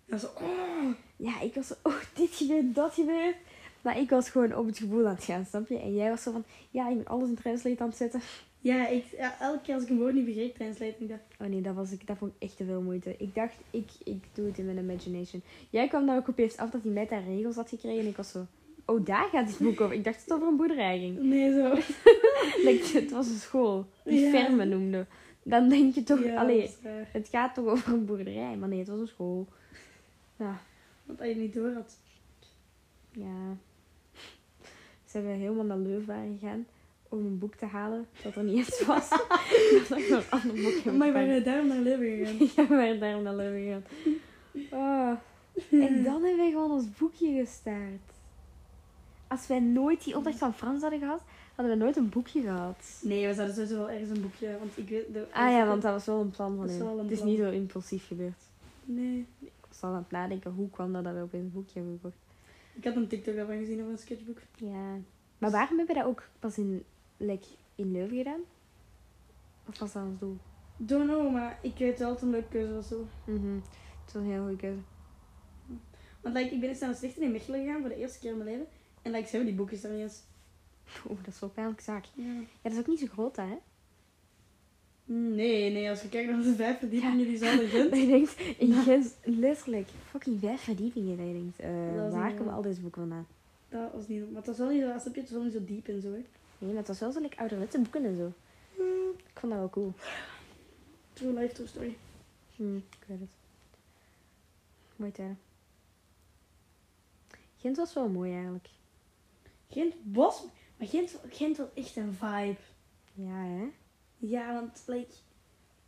A: En zo, oh.
E: Ja, ik was zo, oh, dit gebeurt, dat gebeurt. Maar ik was gewoon op het gevoel aan het gaan, snap je? En jij was zo van, ja, ik ben alles in translate aan het zetten.
A: Ja, ik, ja, elke keer als ik een woord niet begreep, translate ik dat.
E: Oh nee, dat, was ik, dat vond ik echt te veel moeite. Ik dacht, ik, ik doe het in mijn imagination. Jij kwam dan ook opeens af dat hij met haar regels had gekregen. En ik was zo, oh, daar gaat dit boek over. Ik dacht dat het over een boerderij ging.
A: Nee, zo.
E: Like, het was een school, die
A: Ja.
E: Ferme noemde. Dan denk je toch,
A: Ja,
E: allee,
A: dat is waar.
E: het gaat toch over een boerderij. Maar nee, het was een school. Ja,
A: Want als je het niet door had.
E: Ja. Ze hebben helemaal naar Leuven gegaan om een boek te halen dat er niet eens was. dat er nog een ander boek hebben
A: Maar Oh we
E: gepakt.
A: waren daarom naar Leuven gegaan.
E: Ja, we waren daarom naar Leuven gegaan. Oh. En dan hebben wij gewoon ons boekje gestaard. Als wij nooit die opdracht van Frans hadden gehad, hadden we nooit een boekje gehad.
A: Nee, we zouden sowieso wel ergens een boekje. Want ik weet. de-
E: Ah ja, want dat was wel een plan van
A: Dat is
E: hem.
A: wel een
E: Het is
A: plan.
E: niet zo impulsief gebeurd.
A: Nee.
E: Ik was al aan het nadenken, hoe kwam dat dat we opeens een boekje hebben gekocht?
A: Ik had een TikTok daarvan gezien of een sketchbook.
E: Ja. Maar waarom hebben we dat ook pas in, like, in Leuven gedaan? Of was dat ons doel?
A: Don't know, maar ik weet wel dat het een leuke keuze was zo.
E: Mhm. Het was een heel goede keuze.
A: Want like, ik ben eens naar Stichten in Mechelen gegaan voor de eerste keer in mijn leven. En like, ze hebben die boekjes daar niet eens.
E: Oeh, dat is wel pijnlijk zaak.
A: Ja.
E: Ja, dat is ook niet zo groot, hè?
A: Mm, Nee, nee, als je kijkt naar de vijf verdiepingen die ze hadden
E: Dat
A: Gent.
E: je denkt, in Gent, letterlijk, fucking vijf verdiepingen. Dat je denkt, eh,
A: Dat is
E: waar
A: niet
E: komen
A: waar.
E: al deze boeken vandaan?
A: Dat was niet... Maar het was wel niet zo... Als heb je het was wel niet zo diep en zo, hè.
E: Nee, maar het was wel zo like, ouderwetse boeken en zo.
A: Mhm.
E: Ik vond dat wel cool.
A: True life, true story. Mhm.
E: Hm, ik weet het. Mooi tijden. Gent was wel mooi, eigenlijk.
A: Gent was... Maar Gent, Gent was echt een vibe.
E: Ja, hè?
A: Ja, want, like...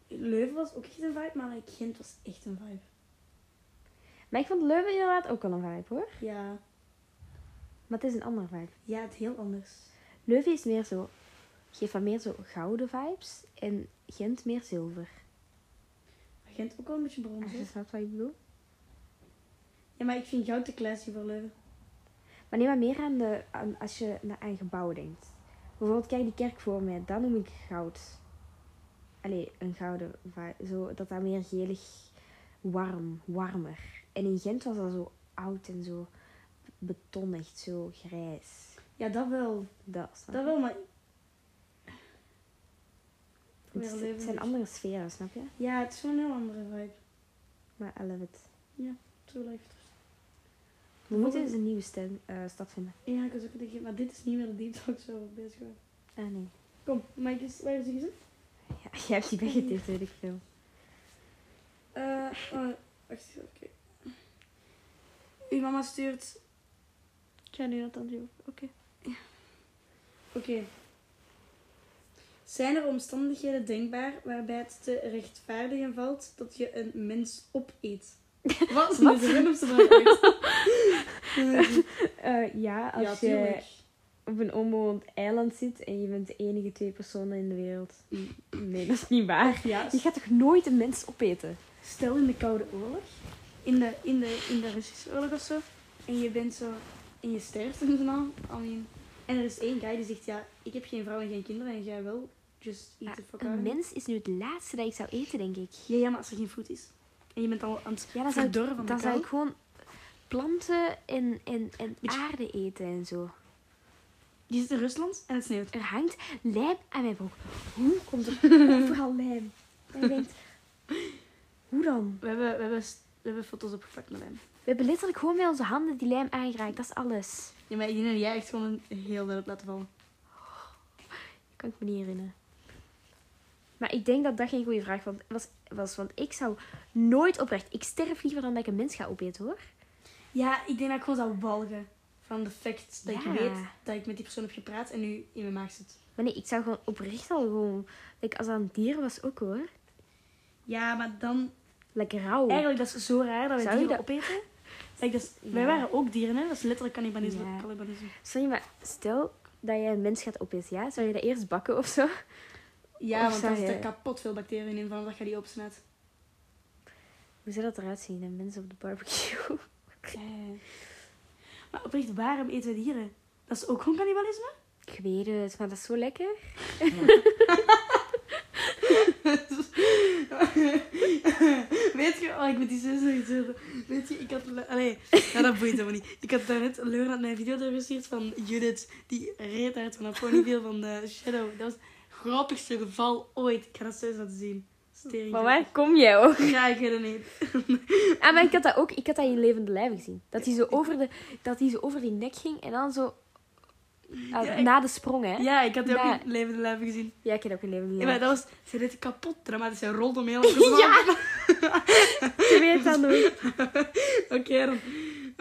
A: Leuven was ook echt een vibe, maar like, Gent was echt een vibe.
E: Maar ik vond Leuven inderdaad ook al een vibe, hoor.
A: Ja.
E: Maar het is een andere vibe.
A: Ja, het heel anders.
E: Leuven is meer zo, geeft wat meer zo gouden vibes en Gent meer zilver.
A: Maar Gent ook wel een beetje
E: Als je
A: bronzen.
E: snapt wat ik bedoel.
A: Ja, maar ik vind goud te classy voor Leuven.
E: Maar neem maar meer aan, de, aan als je na- aan gebouwen denkt. Bijvoorbeeld, kijk die kerk voor mij, dat noem ik goud. Allee, een gouden, vi- zo, dat dat meer gelig, warm, warmer. En in Gent was dat zo oud en zo betonnig, zo grijs.
A: Ja, dat wel.
E: Dat, snap
A: Dat
E: je?
A: wel, maar...
E: Het, is- het zijn andere sferen, snap je?
A: Ja, het is wel een heel andere vibe.
E: Maar I love it.
A: True life. Trust.
E: We moeten dus een nieuwe stem, eh, stad vinden.
A: Ja, ik was ook denken, maar dit is niet meer de deep talk zo bezig waren.
E: Ah, nee.
A: Kom, Mike is, waar is hij
E: Ja, jij hebt die weggetipt, weet ik veel.
A: Eh, oh, wacht even, oké. Uw mama stuurt. Ik ga nu dat dan doen. Oké. Ja. Oké. Zijn er omstandigheden denkbaar waarbij het te rechtvaardigen valt dat je een mens opeet? Wat? is de zin op z'n vraag?
E: Eh, ja,
A: Ja,
E: als je
A: tuurlijk.
E: op een onbewoond eiland zit en je bent de enige twee personen in de wereld. Nee, dat is niet waar.
A: Ja,
E: Je gaat toch nooit een mens opeten?
A: Stel in de Koude Oorlog, in de, in de, in de Russische oorlog of zo, en je bent zo, en je sterft en zo, nou, I mean. En er is één guy die zegt, ja, ik heb geen vrouw en geen kinderen en jij wel, just eat the fuck out of
E: een
A: me.
E: mens is nu het laatste dat ik zou eten, denk ik.
A: Ja, ja, maar als er geen voet is, en je bent al aan het
E: Ja, dan zou ik,
A: verdorven van de
E: dan zou
A: kou.
E: ik gewoon planten en, en, en
A: Beetje-
E: aarde eten en zo.
A: Je zit in Rusland en het sneeuwt.
E: Er hangt lijm aan mijn broek. Hoe komt er overal lijm? En je denkt, hoe dan?
A: We hebben, we hebben, s- we hebben foto's opgepakt met hem.
E: We hebben letterlijk gewoon met onze handen die lijm aangeraakt, dat is alles.
A: Ja, maar ik denk dat jij echt gewoon een heel deel hebt laten vallen.
E: Kan ik me niet herinneren. Maar ik denk dat dat geen goede vraag want- was, was. Want ik zou nooit oprecht. Ik sterf liever dan dat ik een mens ga opeten hoor.
A: Ja, ik denk dat ik gewoon zou walgen van de fact dat
E: Ja.
A: ik weet dat ik met die persoon heb gepraat en nu in mijn maag zit.
E: Maar nee, ik zou gewoon oprecht al gewoon. Like, als dat een dier was ook hoor.
A: Ja, maar dan
E: Lekker rauw.
A: Eigenlijk, dat is zo raar dat wij
E: Zou je
A: dieren opeten. Like, dat is- Wij
E: Ja.
A: waren ook dieren, hè? Dat is letterlijk cannibalisme.
E: Ja.
A: cannibalisme.
E: Sorry, maar stel dat jij een mens gaat opeten, ja? Zou je dat eerst bakken of zo?
A: Ja,
E: Of
A: want
E: zou
A: daar
E: je-
A: zitten kapot veel bacteriën in, vanaf dat je die opsnijdt.
E: Hoe zou dat eruit zien? Een mens op de barbecue.
A: Maar oprecht, waarom eten we dieren? Dat is ook gewoon cannibalisme?
E: Ik weet het, maar dat is zo lekker.
A: Weet je, oh, ik moet die zus nog iets zeggen. Weet je, ik had... le- Allee, nou, dat boeit helemaal niet. Ik had daarnet een Leon had mijn video doorgestuurd van Judith. Die reed uit van een ponyveel van eh, Shadow. Dat was het grappigste geval ooit. Ik ga dat zus laten zien. Stering.
E: Maar waar kom jij ook?
A: Ja, ik weet het niet.
E: Ah, maar ik had dat ook. Ik had dat in levende lijven gezien. Dat hij zo over, de, dat hij zo over die nek ging en dan zo... ah,
A: Ja, ik-
E: na de sprong, hè?
A: Ja, ik had die ook
E: Ja.
A: in levende lijven gezien.
E: Ja, ik heb ook in levende
A: Ja, maar
E: lijven.
A: dat was... Ze deed het kapot dramatisch. Ze rolde om heel erg.
E: Ja! Ze weet dat nog.
A: Oké, dan.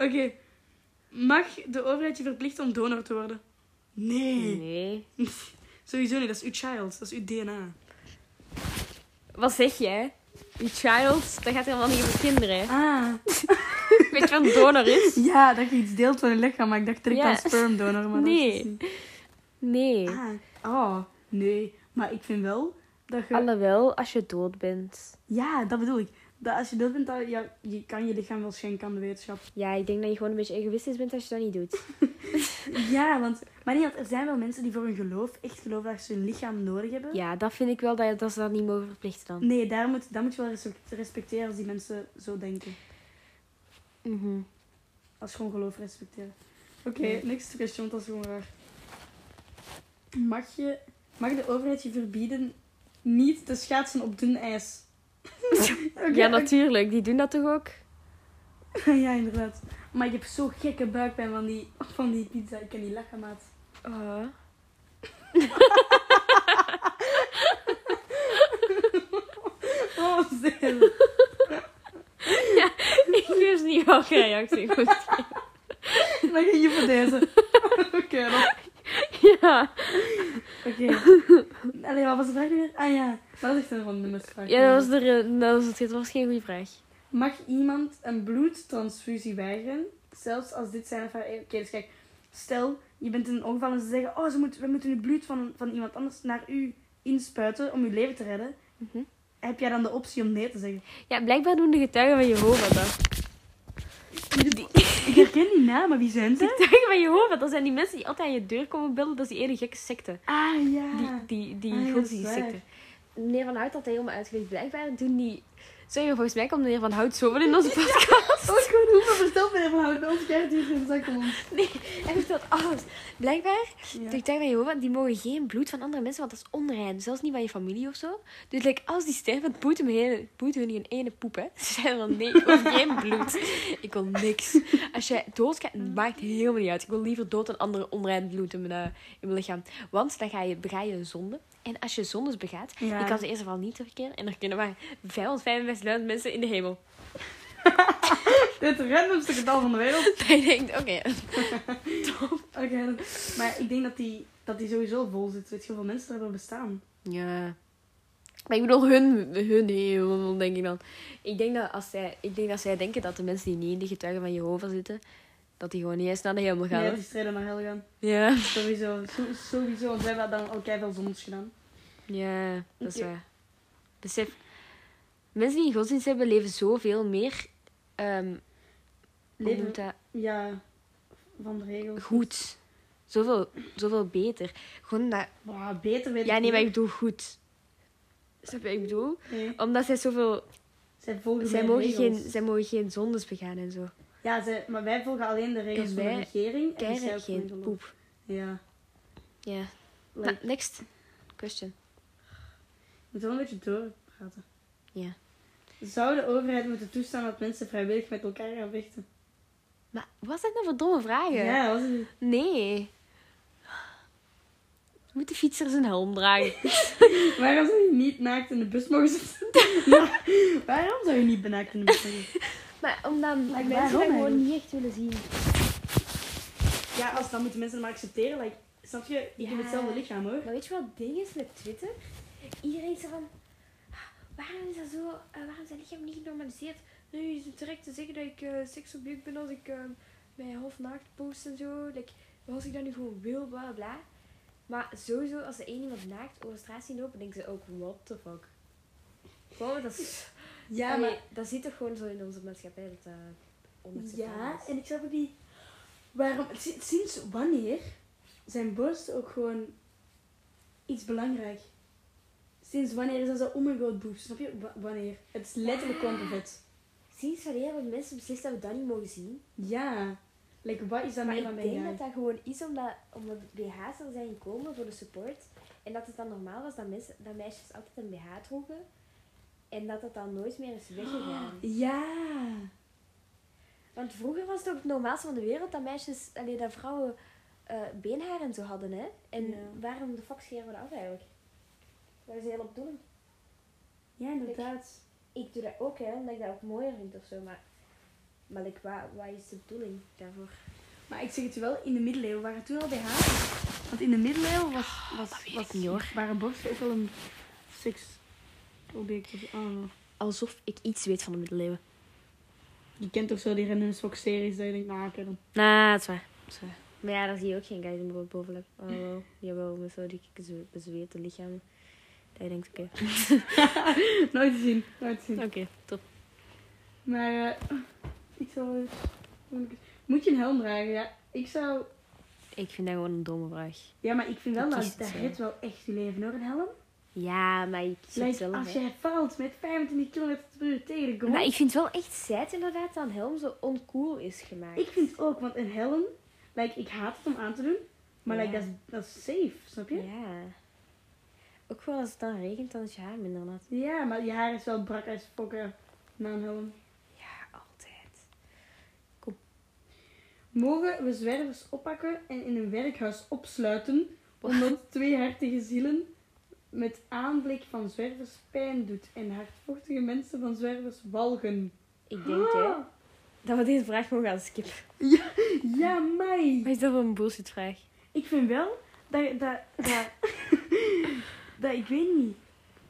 A: Oké. Mag de overheid je verplichten om donor te worden? Nee.
E: Nee.
A: Sowieso niet. Dat is uw child. Dat is uw DNA.
E: Wat zeg jij? Die child, dat gaat helemaal niet over kinderen. hè?
A: Ah.
E: Weet je wat een donor is?
A: Ja, dat je iets deelt van je lichaam. Maar ik dacht direct
E: Ja.
A: aan spermdonor. Maar
E: Nee.
A: Dat is dus
E: Nee.
A: niet. Ah. Oh. Nee. Maar ik vind wel dat je...
E: Alhoewel, als je dood bent.
A: Ja, dat bedoel ik. Dat als je dood bent, dat, ja, je kan je lichaam wel schenken aan de wetenschap.
E: Ja, ik denk dat je gewoon een beetje egoïstisch bent als je dat niet doet.
A: Ja, want... Maar nee, want er zijn wel mensen die voor hun geloof echt geloven dat ze hun lichaam nodig hebben.
E: Ja, dat vind ik wel dat, dat ze dat niet mogen verplichten dan.
A: Nee, daar moet, dat moet je wel respect- respecteren als die mensen zo denken.
E: Mhm.
A: Als gewoon geloof respecteren. Oké, next question, want dat is gewoon raar. Mag, je, mag de overheid je verbieden niet te schaatsen op dun ijs? Oké,
E: Ja, natuurlijk. Die doen dat toch ook?
A: oké. ja, inderdaad. Maar ik heb zo gekke buikpijn van die, van die pizza. Ik kan niet lachen, maat.
E: Ah.
A: Oh, zin.
E: Ik wist niet welke reactie ik moest
A: Dan ging je voor deze. Oké, dan.
E: Ja.
A: Oké. Allee, wat was de vraag nu weer? Ah ja, maar dat is echt een random vraag.
E: ja, dat was, de, dat, was het, dat was geen goede vraag.
A: Mag iemand een bloedtransfusie weigeren? Zelfs als dit zijn of haar... Oké, dus kijk. Stel, je bent in een ongeval en ze zeggen... Oh, ze moet, we moeten het bloed van, van iemand anders naar u inspuiten om uw leven te redden.
E: Mhm.
A: Heb jij dan de optie om nee te zeggen?
E: Ja, blijkbaar doen de getuigen van Jehovah dat.
A: Ik Ik herken die namen, wie zijn ze?
E: Getuigen van Jehovah, dat zijn die mensen die altijd aan je deur komen bellen. Dat is die ene gekke secte.
A: Ah ja.
E: Die, die, die
A: Ah, ja,
E: godsdienstsecte.
A: dat is waar.
E: Meneer Van Hout had helemaal uitgelegd. Blijkbaar doen die... Sorry, maar volgens mij komt meneer Van Hout zo wel in onze podcast.
A: Oh, gewoon hoeveel verstopt ben je van houden? Ons krijgt hier in zak om ons.
E: Nee, hij vertelt alles. Blijkbaar,
A: Ja.
E: de getuigen van Jehovah, die mogen geen bloed van andere mensen, want dat is onrein. Zelfs niet van je familie of zo. Dus like, als die sterven, het boeit, hem heel, het boeit hun geen ene poep, hè. Ze zeiden dan, nee, ik wil geen bloed. Ik wil niks. Als jij doodgaat, het maakt helemaal niet uit. Ik wil liever dood dan andere onrein bloed in mijn, eh, in mijn lichaam. Want dan ga je, bega je een zonde. En als je zondes begaat,
A: Ja.
E: je kan ze eerst en vooral niet terugkeren. En er kunnen maar 555.000 mensen in de hemel.
A: Het randomste getal van de wereld.
E: Dat je denkt, oké,
A: Oké, dat- maar ik denk dat die, dat die sowieso vol zit. Weet je hoeveel mensen er hebben bestaan?
E: Ja. Maar ik bedoel, hun, hun hemel, denk ik dan. Ik denk, dat als zij, ik denk dat zij denken dat de mensen die niet in de getuigen van Jehovah zitten, dat die gewoon niet eens naar de hemel gaan.
A: Nee,
E: hè?
A: die strijden naar hel gaan.
E: Ja.
A: Sowieso, so- sowieso. Want wij hebben dan al veel zondes gedaan.
E: Ja, dat is
A: Ja.
E: waar. Besef, mensen die een godsdienst hebben, leven zoveel meer ehm hoe
A: Leven-
E: noemt dat?
A: Ja, van de regels.
E: goed. Zoveel, zoveel beter. Gewoon dat...
A: Bah, beter weet
E: Ja,
A: ik
E: nee, maar ik
A: niet.
E: bedoel goed. Snap je wat ik bedoel?
A: Nee,
E: Omdat zij zoveel...
A: zij volgen
E: Zij
A: mijn
E: mogen, geen,
A: regels.
E: zij mogen geen zondes begaan en zo.
A: Ja, zij, maar wij volgen alleen de regels
E: En
A: van de
E: Dus wij
A: regering. En zij
E: Krijgen
A: ook
E: geen
A: gewoon
E: poep.
A: Ja.
E: Ja.
A: Like,
E: Nou, next question.
A: we moeten wel een beetje doorpraten.
E: Ja.
A: Zou de overheid moeten toestaan dat mensen vrijwillig met elkaar gaan vechten?
E: Maar wat zijn dat nou voor domme vragen?
A: Ja, was het
E: Nee. Moeten fietsers een helm dragen?
A: Waarom zou je niet naakt in de bus mogen zitten? Maar waarom zou je niet naakt in de bus mogen zitten?
E: maar omdat
B: Maar
A: waarom
B: mensen dat gewoon
A: eigenlijk?
B: niet echt willen zien.
A: Ja, als dan moeten mensen het maar accepteren. Like, snap je? Ik heb
B: Ja.
A: hetzelfde lichaam hoor.
B: Maar weet je wat het ding is met Twitter? Iedereen is er van... "Ah, Waarom is dat zo? eh, waarom is dat lichaam niet genormaliseerd? Nu is het terecht te zeggen dat ik eh seksobject ben als ik eh, mij half naakt post en zo. Like, als ik dat nu gewoon wil, bla bla, bla. Maar sowieso, als er één iemand naakt over straat zien lopen, denken ze ook, what the fuck. Gewoon, dat is...
A: Ja,
B: Allee,
A: maar...
B: Dat zit toch gewoon zo in onze maatschappij, dat dat onacceptabel
A: Ja,
B: is.
A: en ik snap ook niet... Waarom... si- Sinds wanneer zijn borsten ook gewoon iets belangrijk? Sinds wanneer is dat zo, oh my god, boobs? Snap je? Wa- wanneer? Het is letterlijk gewoon perfect.
B: Sinds wanneer hebben mensen beslist dat we dat niet mogen zien?
A: Ja. Like, wat is dat
B: Maar
A: meer
B: ik
A: dan
B: denk dat
A: bij
B: dat gewoon is omdat, omdat BH's er zijn gekomen voor de support. En dat het dan normaal was dat, mensen, dat meisjes altijd een BH droegen. En dat dat dan nooit meer is weggegaan.
A: Ja.
B: Want vroeger was het ook het normaalste van de wereld dat meisjes, alleen dat vrouwen eh beenhaar en zo hadden. Hè? En
A: Ja.
B: waarom de fuck scheren we dat af eigenlijk? Dat is heel opdoening.
A: Ja, inderdaad.
B: Ik doe dat ook, hè, omdat ik dat ook mooier vind of zo. Maar, maar like, wa- wat is de bedoeling daarvoor?
A: Maar ik zeg het je wel, in de middeleeuwen waren het toen al BH's. Want in de middeleeuwen was,
E: Oh,
A: was, was,
E: niet, hoor.
A: waren borsten ook wel een seksobject. Of, oh. I don't know.
E: Alsof ik iets weet van de middeleeuwen.
A: Je kent toch zo die random Fox series dat je denkt, nou oké dan.
E: Nou, dat is waar.
B: Maar ja, daar zie je ook geen guys in bo- bovenlip. Oh, wel. Jawel, met zo die zwe- bezweette lichamen. Dat je denkt, oké.
A: Nooit te zien, nooit te zien.
E: Oké, top.
A: Maar eh, ik zou... Moet je een helm dragen? Ja, ik zou...
E: Ik vind dat gewoon een domme vraag.
A: Ja, maar ik vind wel
E: Dat
A: dat
E: is
A: dat
E: het,
A: redt wel echt je leven hoor, een helm.
B: Ja, maar ik
A: Like,
B: zit zelf,
A: als
B: hè.
A: jij valt met 25 km per uur tegen de grond.
B: Maar ik vind wel echt sad inderdaad dat een helm zo oncool is gemaakt.
A: Ik vind ook, want een helm, like, ik haat het om aan te doen, maar like,
B: Ja.
A: dat, is, dat is safe, snap je? Ja.
B: Ja. Ook wel als het dan regent, dan is je haar minder nat.
A: maar je haar is wel brak als fokken na een helm.
B: Ja, altijd.
A: Mogen we zwervers oppakken en in een werkhuis opsluiten, omdat twee hartige zielen met aanblik van zwervers pijn doet en hardvochtige mensen van zwervers walgen?
B: Ik denk,
A: Ah!
B: hè, dat we deze vraag gewoon gaan skippen.
A: Ja, mij!
E: Wat is dat voor een bullshit vraag?
A: Ik vind wel dat, dat, dat, dat ik weet niet.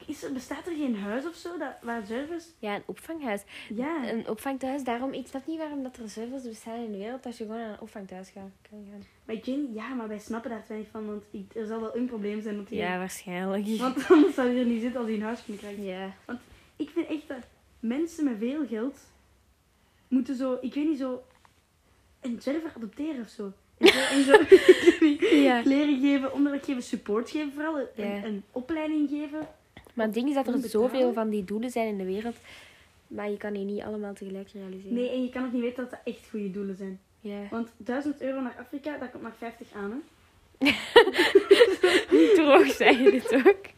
A: Is er, bestaat er geen huis of zo dat, waar zwervers...
B: Ja, een opvanghuis.
A: Ja.
B: Een opvangthuis, daarom, ik snap niet waarom dat er zoveel bestaan in de wereld als je gewoon naar een opvangthuis gaat, kan gaan.
A: Maar ik weet niet, ja, maar wij snappen daar te weinig van, want ik- er zal wel een probleem zijn dat die...
E: Ja, waarschijnlijk.
A: Want anders zou hij er niet zitten als hij een huis kunnen krijgen.
B: Ja.
A: Ik vind echt dat mensen met veel geld moeten zo, ik weet niet, zo een zwerver adopteren of zo. En zo, en zo
E: Ja.
A: kleren geven, onderdak geven, support geven vooral. Een,
E: Ja.
A: een opleiding geven.
E: Maar het ding is dat er
A: Onbetalen?
E: zoveel van die doelen zijn in de wereld. Maar je kan die niet allemaal tegelijk realiseren.
A: Nee, en je kan ook niet weten dat dat echt goede doelen zijn.
E: Ja.
A: Want 1000 euro naar Afrika, daar komt maar 50 aan. Hè?
E: Droog zijn dit ook.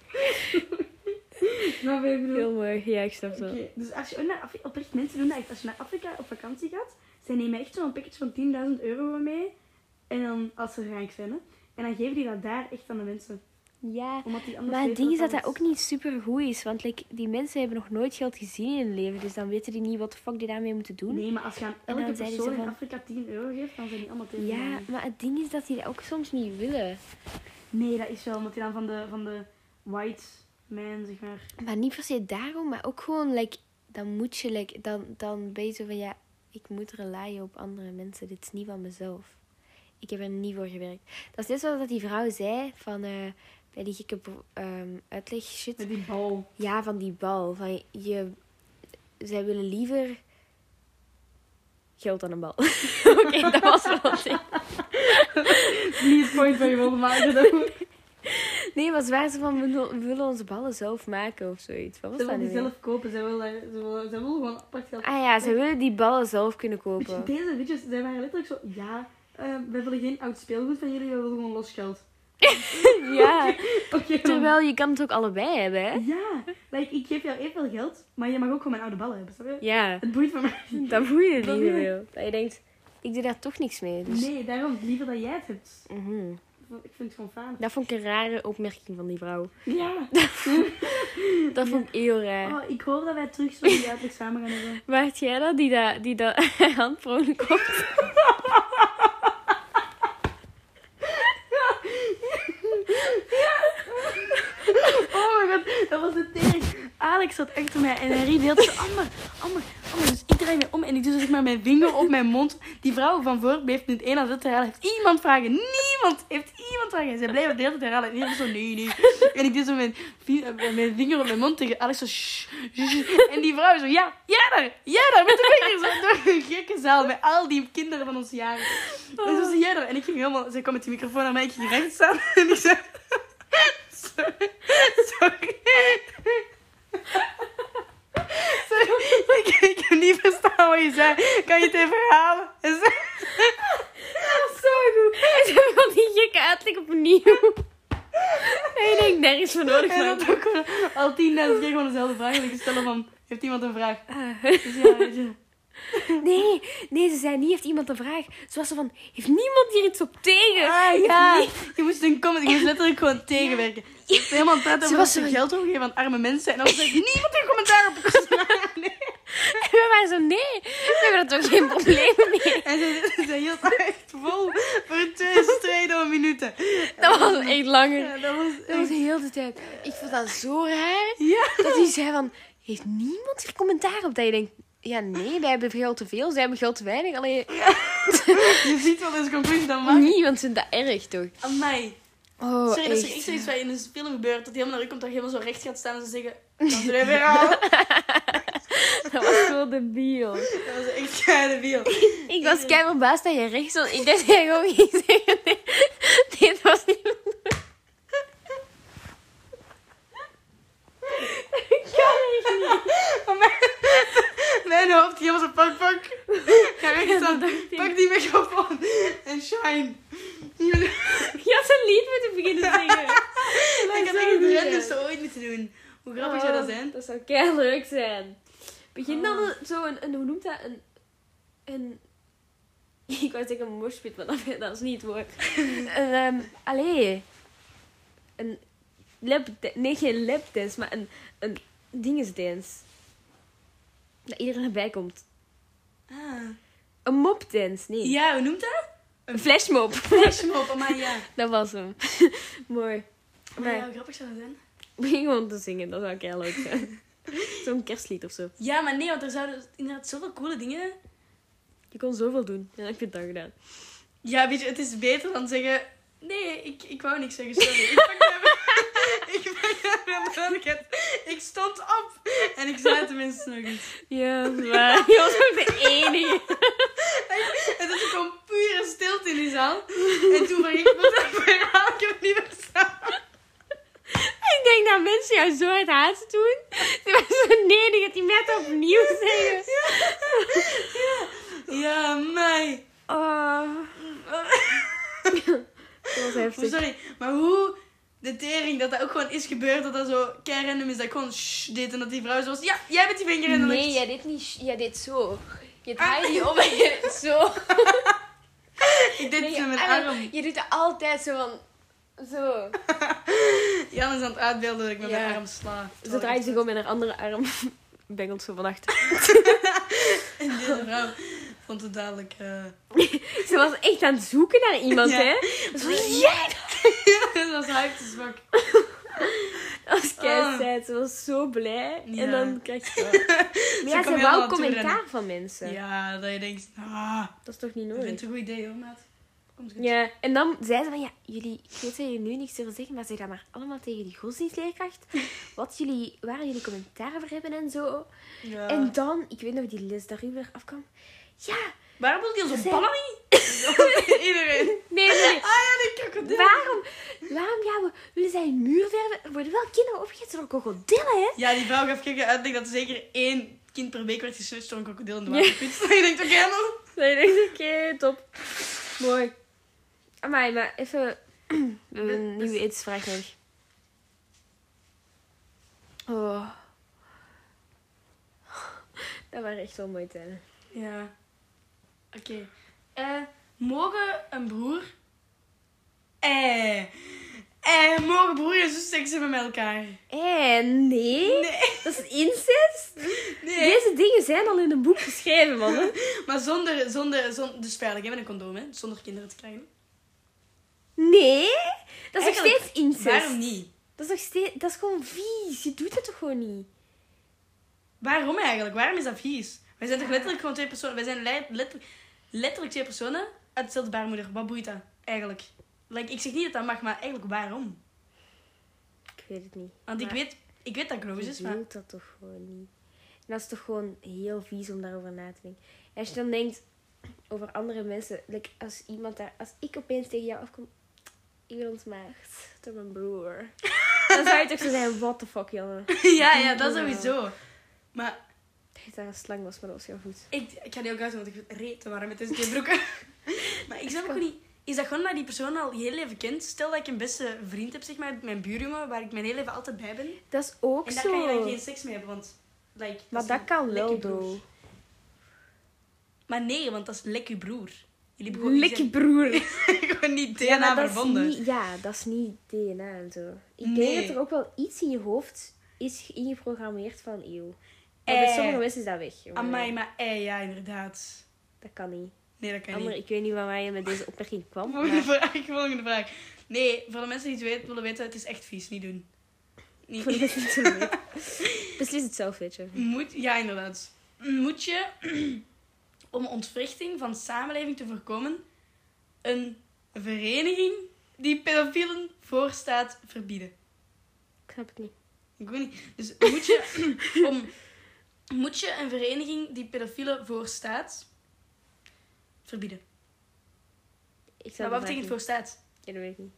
A: Maar ik bedoel,
E: Heel mooi. Ja, ik snap het wel.
A: Oké, Dus als je ook naar Afrika, oprecht mensen doen dat echt. Als je naar Afrika op vakantie gaat, zij nemen echt zo'n pakketje van 10.000 euro mee. En dan, als ze rijk zijn, hè. En dan geven die dat daar echt aan de mensen.
E: Ja.
A: Omdat die anders
E: Maar het
A: weten
E: ding is dat
A: alles-
E: dat ook niet super goed is. Want like, die mensen hebben nog nooit geld gezien in hun leven. Dus dan weten die niet wat de fuck die daarmee moeten doen.
A: Nee, maar als je aan
E: dan
A: elke
E: zeiden ze
A: persoon in
E: van-
A: Afrika 10 euro geeft, dan zijn die allemaal tegen.
E: Ja, maar het ding is dat die dat ook soms niet willen.
A: Nee, dat is wel, omdat die dan van de, van de white man, zeg maar.
E: Maar niet per se daarom, maar ook gewoon, like, dan moet je, like, dan, dan ben je zo van, ja, ik moet relyen op andere mensen. Dit is niet van mezelf. Ik heb er niet voor gewerkt. Dat is net zoals dat die vrouw zei van, eh, bij die gekke bro- ehm, uitleg shit.
A: Met die bal.
E: Ja, van die bal. Van je, zij willen liever geld dan een bal. Oké, dat was wel het ding.
A: Niet het point van je wilde maken. Dat was
E: Nee, maar ze waren zo van, we wil- we willen onze ballen zelf maken of zoiets. Wat was
A: ze
E: dat
A: willen
E: nu
A: die
E: weer?
A: zelf kopen, ze willen, ze willen, ze willen gewoon apart geld
E: Ah ja, ze willen die ballen zelf kunnen
A: Weet je,
E: kopen.
A: deze bitches, zij waren letterlijk zo, ja, eh wij willen geen oud speelgoed van jullie, wij willen gewoon los geld.
E: Ja,
A: Oké.
E: terwijl je kan het ook allebei hebben, hè?
A: Ja, like, ik geef jou evenveel geld, maar je mag ook gewoon mijn oude ballen hebben, snap je?
E: Ja,
A: Het boeit van mij.
E: dat voel je niet
A: Dat wil je.
E: zoveel. Dat je denkt, ik doe daar toch niks mee. Dus.
A: Nee, daarom liever dat jij het hebt.
E: Mhm.
A: Ik vind het gewoon fijn.
E: Dat vond ik een rare opmerking van die vrouw.
A: Ja.
E: Dat vond ik heel raar.
A: Oh, ik hoop dat wij terug zo duidelijk samen gaan hebben.
E: Waart jij dat die dat, die dat handprone kocht?
A: Oh my god, dat was de tering. Alex zat achter mij en hij riep heel zo, Amber, Amber, Amber. Dus ik draai me om en ik doe zo zeg maar mijn vinger op mijn mond. Die vrouw van voor bleef nu het een aan het herhalen. Heeft iemand vragen? Niemand heeft iemand vragen. Zij blijven de hele tijd herhalen. En iedereen zo, nee, nee. En ik doe zo mijn, vi- eh, mijn vinger op mijn mond tegen Alex zo, shh, shh, shh. En die vrouw zo, ja, ja daar, ja daar. Met de vinger zo door een gekke zaal met al die kinderen van ons jaar. En zo zei jij daar. dus En ik ging helemaal, zij kwam met die microfoon naar mij, ik ging recht staan. En ik zei, sorry, sorry. Sorry, ik, ik heb niet verstaan wat je zei. Kan je het even herhalen? En ze-
E: Zo goed. En ze vond die gekke uitleg opnieuw. En je denkt, nergens voor nodig.
A: En dat
E: Maar...
A: ook gewoon al 10.000 keer gewoon dezelfde vraag wil ik stellen van... Heeft iemand een vraag?
E: Ah.
A: Dus ja, weet je.
E: Nee, nee, ze zei niet, heeft iemand een vraag? Ze was zo van, heeft niemand hier iets op tegen?
A: Ah, ja. Je moest een comment, je moest letterlijk gewoon tegenwerken. Ze was helemaal aan het praten
E: Ze
A: over
E: was
A: dat ze
E: zo-
A: geld overgeven aan arme mensen. En dan zei niemand een commentaar op. Nee.
E: En we waren zo, nee, we hebben er toch geen probleem mee.
A: En ze, ze hield echt vol voor twee streden minuten.
E: Dat was echt langer.
A: Ja, dat was
E: Dat was
A: echt...
E: de hele tijd. Ik vond dat zo raar.
A: Ja.
E: Dat hij zei van, heeft niemand hier commentaar op? Dat je denkt, ja nee, wij hebben geld te veel, zij hebben geld te weinig. Alleen
A: Je ziet wel eens conclusie dan maken.
E: niemand vindt dat erg, toch?
A: Amai.
E: Oh,
A: Sorry, dat is er echt zoiets wat in een film gebeurt. Dat hij helemaal naar u komt, dat je helemaal zo recht gaat staan en ze zeggen... Dat is er weer aan.
E: Dat was zo debiel.
A: Dat was echt geile wiel.
E: Ik was kei verbaasd dat je recht stond. Ik dacht dat je gewoon ging zeggen, nee, nee, dat was niet mijn bedoeling.
A: Mijn hoofd, die was een pak, pak. Ga weg staan. Pak die microfoon. En shine.
E: Je had een lied moeten beginnen zingen.
A: Ik had echt het renderste ooit moeten doen. Hoe grappig zou dat Ah. zijn?
E: Dat zou kei leuk zijn. Begin dan een- zo een, een, hoe noemt dat? Een, een ik wou zeggen een moshpit, maar dat, dat is niet het woord. een, ehm, allee. Een lapda- nee geen lapdance, maar een, een dingesdance. Dat iedereen erbij komt.
A: Ah.
E: Een mopdance, nee.
A: Ja, hoe noemt dat?
E: Een flashmop.
A: Flashmob, amai, ja.
E: Dat was hem. Mooi.
A: Maar
E: Maar
A: ja, hoe grappig zou dat zijn?
E: begin gewoon te zingen, dat zou kei leuk zijn. Zo'n kerstlied of zo.
A: Ja, maar nee, want er zouden inderdaad zoveel coole dingen...
E: Je kon zoveel doen. En dan heb je het dan gedaan.
A: Ja, weet je, het is beter dan zeggen... Nee, ik, ik wou niks zeggen, sorry. Ik pak mijn- ik pak mijn verantwoordelijkheid. Ik stond op. En ik zei het tenminste nog eens.
E: Ja, dat is waar. Je was ook de enige.
A: En dat is gewoon in die zaal. En toen van ik wat een verhaal, ik heb het niet meer staan.
E: Ik denk dat mensen jou zo uit haat doen. Ze waren zo nederig dat die net opnieuw zeggen.
A: Ja, mij.
E: Oh. Dat was heftig.
A: Sorry, maar hoe de tering dat dat ook gewoon is gebeurd, dat dat zo kei random is, dat ik gewoon shh deed en dat die vrouw zo was, ja, jij bent die vinger en dan dacht
B: Nee,
A: ik,
B: jij deed niet. Jij deed zo.
A: Ah!
B: Je draait niet om en je deed zo.
A: ik deed
B: Nee,
A: het met mijn
B: en dan-
A: arm.
B: Je doet er altijd zo van. Zo.
A: Jan is aan het uitbeelden dat ik met
E: Ja.
A: mijn arm sla.
E: Ze draait zich om in haar andere arm. Bengelt zo van achter.
A: En deze vrouw vond het dadelijk... eh,
E: Ze was echt aan het zoeken naar iemand,
A: Ja.
E: hè? Ze was, jij!
A: Dat was hype, dus fuck.
E: Dat was
A: Oh.
E: keizijd. Ze was zo blij.
A: Ja.
E: En dan krijg je dat. Maar ja,
A: kwam
E: ze
A: helemaal
E: wou commentaar
A: toerennen.
E: van mensen.
A: Ja, dat je denkt, ah,
E: Dat is toch niet
A: ik vind
E: nodig?
A: het een goed idee hoor, maat. Komt goed.
E: Ja, en dan zei ze van, ja, jullie, ik weet dat jullie nu niks zullen zeggen, maar zeg dat maar allemaal tegen die godsdienstleerkracht. Wat jullie, waar jullie commentaar over hebben en zo.
A: Ja.
E: En dan, ik weet nog die les dat u weer afkwam. Ja,
A: Waarom wil je zo'n
E: Zij-
A: ballen Iedereen.
E: nee, nee, nee.
A: Ah ja, die krokodil.
E: Waarom, waarom gaan we, willen zij een muur verven? Er worden wel kinderen opgegeten door krokodillen, hè?
A: Ja, die vrouw gaf gekke uitleg dat er zeker één kind per week werd gesust door een krokodil in de waterput. En je denkt, oké, helemaal.
E: Nee, ik denk, oké, top. Mooi. Amai, maar even, we hebben een
A: Dus-
E: nieuwe etensvraag nodig. Oh. Dat waren echt wel mooie tijden.
A: Ja. Oké. Eh, mogen een broer... Eh. Eh, mogen broer en zus seks hebben met elkaar?
E: Eh, nee.
A: Nee.
E: Dat is incest.
A: Nee.
E: Deze dingen zijn al in een boek geschreven, mannen.
A: Maar zonder, zonder, zonder... Dus veilig, hè, met een condoom, hè? Zonder kinderen te krijgen.
E: Nee. Dat is nog
A: Eigenlijk,
E: steeds incest.
A: Waarom niet?
E: Dat is nog steeds... Dat is gewoon vies. Je doet het toch gewoon niet?
A: Waarom eigenlijk? Waarom is dat vies? Wij zijn toch letterlijk gewoon twee personen. Wij zijn le- letterlijk, letterlijk twee personen uit dezelfde baarmoeder. Wat boeit dat eigenlijk? Like, ik zeg niet dat dat mag, maar eigenlijk waarom?
E: Ik weet het niet.
A: Want ik
E: Maar-
A: weet, ik weet dat gross is,
E: Je
A: maar...
E: doet dat toch gewoon niet. En dat is toch gewoon heel vies om daarover na te denken. En als je dan denkt over andere mensen, like als iemand daar, als ik opeens tegen jou afkom, ik ben ontmaagd door mijn broer. dan zou je toch zo zijn, what the fuck, jongen.
A: ja, ja, dat sowieso. Maar
E: Ik dacht dat daar een slang was, maar dat was jouw voet.
A: ik, ik ga die ook uit, want ik vind het reet te warm met deze twee broeken. maar ik snap ook niet... Is dat gewoon dat die persoon al je heel leven kent? Stel dat ik een beste vriend heb, zeg maar, mijn buurjongen, waar ik mijn hele leven altijd bij ben.
E: Dat is ook
A: En daar
E: zo.
A: kan je dan geen seks mee hebben, want... Like,
E: maar
A: is
E: dat
A: een
E: kan wel,
A: lekker broer.
E: doe.
A: Maar nee, want dat is lek uw broer. Jullie begonnen
E: Lekker broer.
A: zijn gewoon niet DNA
E: Ja, maar dat is
A: verbonden.
E: niet- ja, dat is niet DNA en zo. Ik
A: Nee.
E: denk dat er ook wel iets in je hoofd is ingeprogrammeerd van eeuw. Maar
A: Eh.
E: bij sommige mensen is dat weg. jongen.
A: Amai, maar eh, ja, inderdaad.
E: Dat kan niet.
A: Nee, dat kan
E: Amber,
A: niet.
E: ik weet niet waar wij met deze opmerking kwam. maar-
A: Volgende vraag, volgende vraag. Nee, voor de mensen die het weten, willen weten, het is echt vies. Niet doen. Niet.
E: Voor de mensen die het weten. Beslis het zelf, weet je.
A: Moet, ja, inderdaad. Moet je, om ontwrichting van samenleving te voorkomen, een vereniging die pedofielen voorstaat verbieden?
E: Ik snap het niet.
A: Ik weet niet. Dus moet je, om, moet je een vereniging die pedofielen voorstaat verbieden?
E: Ik snap
A: Maar Nou, wat betekent voorstaat?
E: Ik weet ik niet.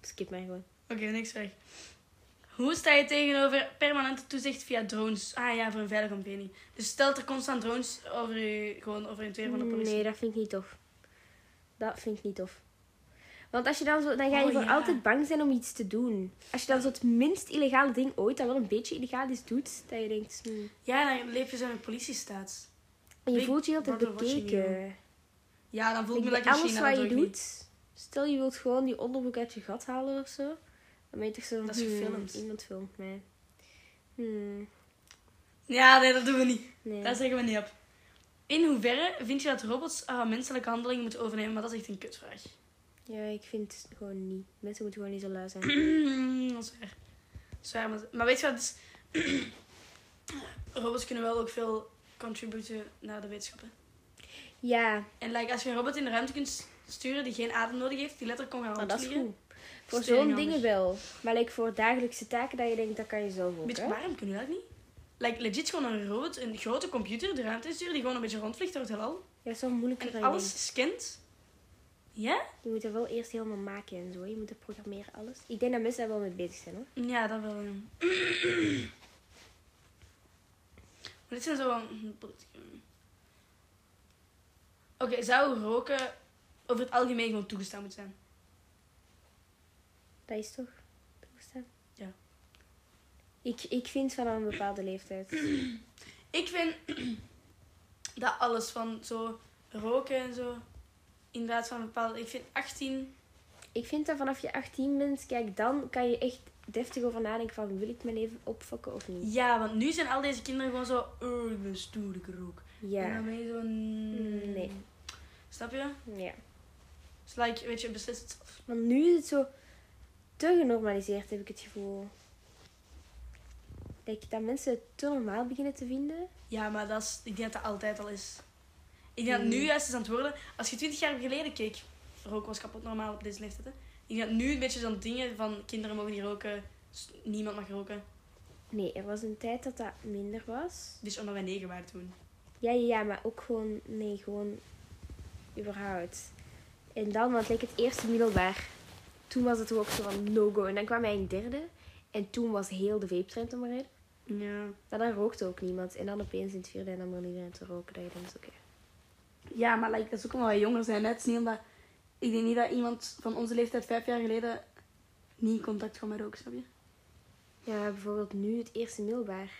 E: Skip mij gewoon.
A: Oké, niks weg. Hoe sta je tegenover permanente toezicht via drones? Ah ja, voor een veilige omgeving. Dus stelt er constant drones over je, gewoon over het weer van de politie?
E: Mm, Nee, dat vind ik niet tof. Dat vind ik niet tof. Want als je dan zo, dan ga je
A: Oh,
E: voor
A: ja.
E: altijd bang zijn om iets te doen. Als je dan zo het minst illegale ding ooit, dat wel een beetje illegaal is, doet, dat je denkt, hmm.
A: Ja, dan leef je zo in een politiestaat.
E: En je
A: Big
E: voelt je heel tijd
A: brother watching
E: bekeken.
A: Ja, dan voel ik me
E: Ik-
A: lekker in
E: alles
A: China.
E: wat
A: dat
E: je
A: doe ik niet.
E: doet, stel je wilt gewoon die onderbroek uit je gat halen of zo, dan ben je toch zo van,
A: Dat is
E: hmm,
A: gefilmd.
E: iemand filmt mij. Hmm,
A: Ja, nee, dat doen we niet.
E: nee.
A: Daar zeggen we niet op. In hoeverre vind je dat robots ah, menselijke handelingen moeten overnemen? Maar dat is echt een kutvraag.
E: Ja, ik vind het gewoon niet. Mensen moeten gewoon niet zo lui zijn.
A: dat is waar. Dat is waar, maar, maar weet je wat? het is? robots kunnen wel ook veel contributen naar de wetenschappen.
E: Ja,
A: En like, als je een robot in de ruimte kunt s- sturen die geen adem nodig heeft, die letterlijk kon gaan
E: maar Nou, dat is
A: rondvliegen.
E: goed. Voor
A: Stering
E: zo'n
A: anders.
E: dingen wel. Maar like, voor dagelijkse taken dat je denkt, dat kan je zelf
A: Een
E: ook.
A: beetje
E: Hè?
A: warm kunnen we dat niet? Like, legit gewoon een robot, een grote computer de ruimte in sturen die gewoon een beetje rondvliegt door het heelal.
E: Ja, zo moeilijk
A: En alles scant
F: Ja?
E: Je moet er wel eerst helemaal maken en zo. Je moet er programmeren, alles. Ik denk dat mensen daar wel mee bezig zijn hoor.
F: Ja, dat wel. ja. maar dit zijn zo wel... Oké, zou roken over het algemeen gewoon toegestaan moeten zijn?
E: Dat is toch toegestaan?
F: Ja.
E: Ik, ik vind vanaf een bepaalde leeftijd.
F: Ik vind dat alles van zo roken en zo, inderdaad van een bepaalde... Ik vind 18...
E: Ik vind dat vanaf je 18 bent, kijk, dan kan je echt deftig over nadenken van wil ik mijn leven opfokken of niet.
F: Ja, want nu zijn al deze kinderen gewoon zo... Oh, ik ben stoer, ik rook. En dan
E: Ja.
F: ben je zo...
E: Nee.
F: Snap je?
E: Ja.
F: It's like, weet je, beslist het zelf.
E: Want nu is het zo te genormaliseerd, heb ik het gevoel. Like, dat mensen het te normaal beginnen te vinden.
F: Ja, maar dat is, ik denk dat dat altijd al is. Ik denk dat
A: Hmm.
F: het nu juist is aan het worden. Als je twintig jaar geleden keek, roken was kapot normaal op deze leeftijd. Hè? Ik denk dat nu een beetje zo'n dingen van kinderen mogen niet roken, s- niemand mag roken.
E: Nee, er was een tijd dat dat minder was.
F: Dus omdat wij negen waren toen.
E: Ja, ja, ja, maar ook gewoon, nee, gewoon überhaupt. En dan, want ik het eerste middelbaar, toen was het toch ook zo van no-go. En dan kwam hij in derde en toen was heel de vape-trend om erin.
F: Ja.
E: Maar dan rookte ook niemand. En dan opeens in het vierde en dan begon iedereen te roken. Dat je denkt, oké.
A: Ja, maar like, dat is ook omdat wij jonger zijn. Hè? Het is niet omdat... Ik denk niet dat iemand van onze leeftijd vijf jaar geleden niet in contact kwam met roken, snap je?
E: Ja, bijvoorbeeld nu het eerste middelbaar.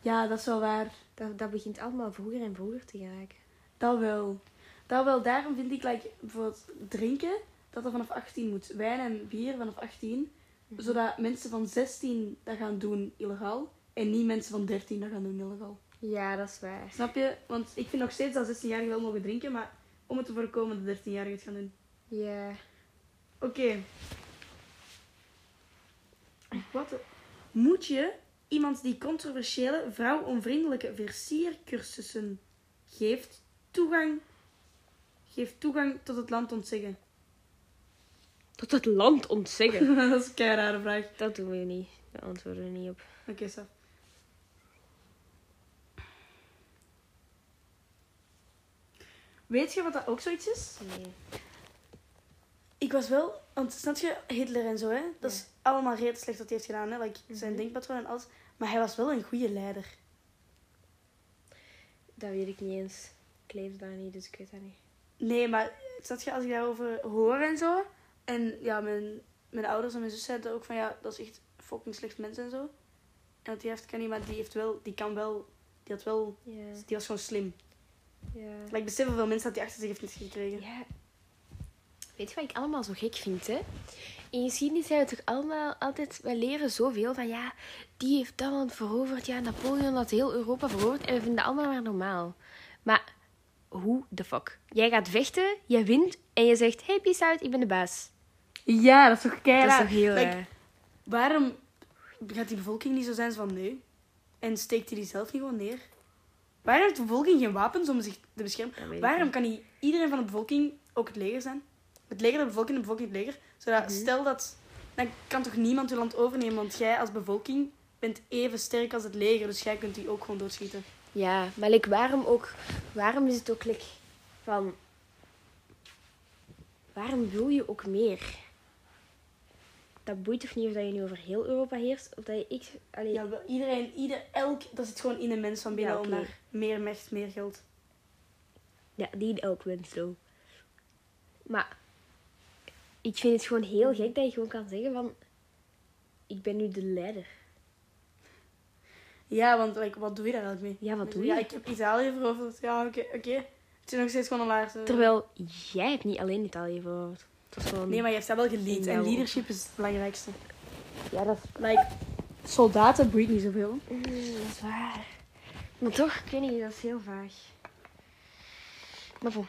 A: Ja, dat is wel waar.
E: Dat, dat begint allemaal vroeger en vroeger te geraken.
A: Dat wel. Dat wel. Daarom vind ik like, bijvoorbeeld drinken, dat dat vanaf 18 moet. Wijn en bier vanaf 18. Zodat mensen van 16 dat gaan doen illegaal. En niet mensen van 13 dat gaan doen illegaal.
E: Ja, dat is waar.
A: Snap je? Want ik vind nog steeds dat 16-jarigen wel mogen drinken. Maar om het te voorkomen dat 13-jarigen het gaan doen.
E: Ja.
A: Oké. Wat? de- Moet je iemand die controversiële, vrouwonvriendelijke versiercursussen geeft, toegang, geeft toegang tot het land ontzeggen?
E: Tot het land ontzeggen.
A: dat is een kei rare vraag.
E: dat doen we niet. We antwoorden er niet op.
A: Oké, Saf. Weet je wat dat ook zoiets is?
E: Nee.
A: Ik was wel, want snap je, Hitler en zo, hè? Dat is allemaal redelijk slecht wat hij heeft gedaan, hè? Like, zijn denkpatroon en alles. Maar hij was wel een goede leider.
E: Dat weet ik niet eens. Ik leef daar niet, dus ik weet dat niet.
A: Nee, maar snap je, als ik daarover hoor en zo. En ja, mijn, mijn ouders en mijn zus zeiden ook van ja, dat is echt fucking slecht mens en zo. En dat die heeft kan niet, maar die heeft wel, die kan wel, die had wel,
E: Ja.
A: die was gewoon slim.
E: Ja.
A: Maar ik besef hoeveel mensen dat die achter zich heeft niet gekregen.
E: Ja. Weet je wat ik allemaal zo gek vind, hè? In geschiedenis zijn we toch allemaal altijd... We leren zoveel van, ja, die heeft dat land veroverd. Ja, Napoleon had heel Europa veroverd. En we vinden dat allemaal maar normaal. Maar hoe de fuck? Jij gaat vechten, jij wint en je zegt... Hey, peace out, ik ben de baas.
A: Ja, dat is toch keihard.
E: Dat is toch heel...
A: like,
E: eh,
A: Waarom gaat die bevolking niet zo zijn van nee? En steekt hij die zelf niet gewoon neer? Waarom heeft de bevolking geen wapens om zich te beschermen?
E: dat weet ik
A: Waarom kan niet iedereen van de bevolking ook het leger zijn? Het leger de bevolking, de bevolking het leger. Zodat, stel dat... Dan kan toch niemand uw land overnemen, want jij als bevolking bent even sterk als het leger. Dus jij kunt die ook gewoon doodschieten.
E: Ja, maar like, waarom ook... Waarom is het ook like, van... Waarom wil je ook meer? Dat boeit toch niet of dat je nu over heel Europa heerst? Of dat je ik... Allee, ja,
A: Ja, wel, iedereen, ieder, elk... Dat zit gewoon in de mens van binnen
E: Ja, oké.
A: om daar meer macht, meer geld.
E: die ook wint zo. Maar ik vind het gewoon heel gek dat je gewoon kan zeggen van... Ik ben nu de leider.
A: Ja, want like, wat doe je daar eigenlijk mee?
E: Ja, wat doe je?
A: Ja, ik heb Italië veroverd. Ja, oké, oké. Het is nog steeds gewoon een laars. eh.
E: Terwijl jij hebt niet alleen Italië veroverd. Het was gewoon...
A: Nee, maar je hebt dat wel
E: Ik
A: geleerd.
E: wel.
A: En leadership is het belangrijkste.
E: Ja, dat is
A: Like, soldaten boeit niet zoveel.
E: Mm, Dat is waar. Maar toch, ik weet niet, dat is heel vaag. Maar bon.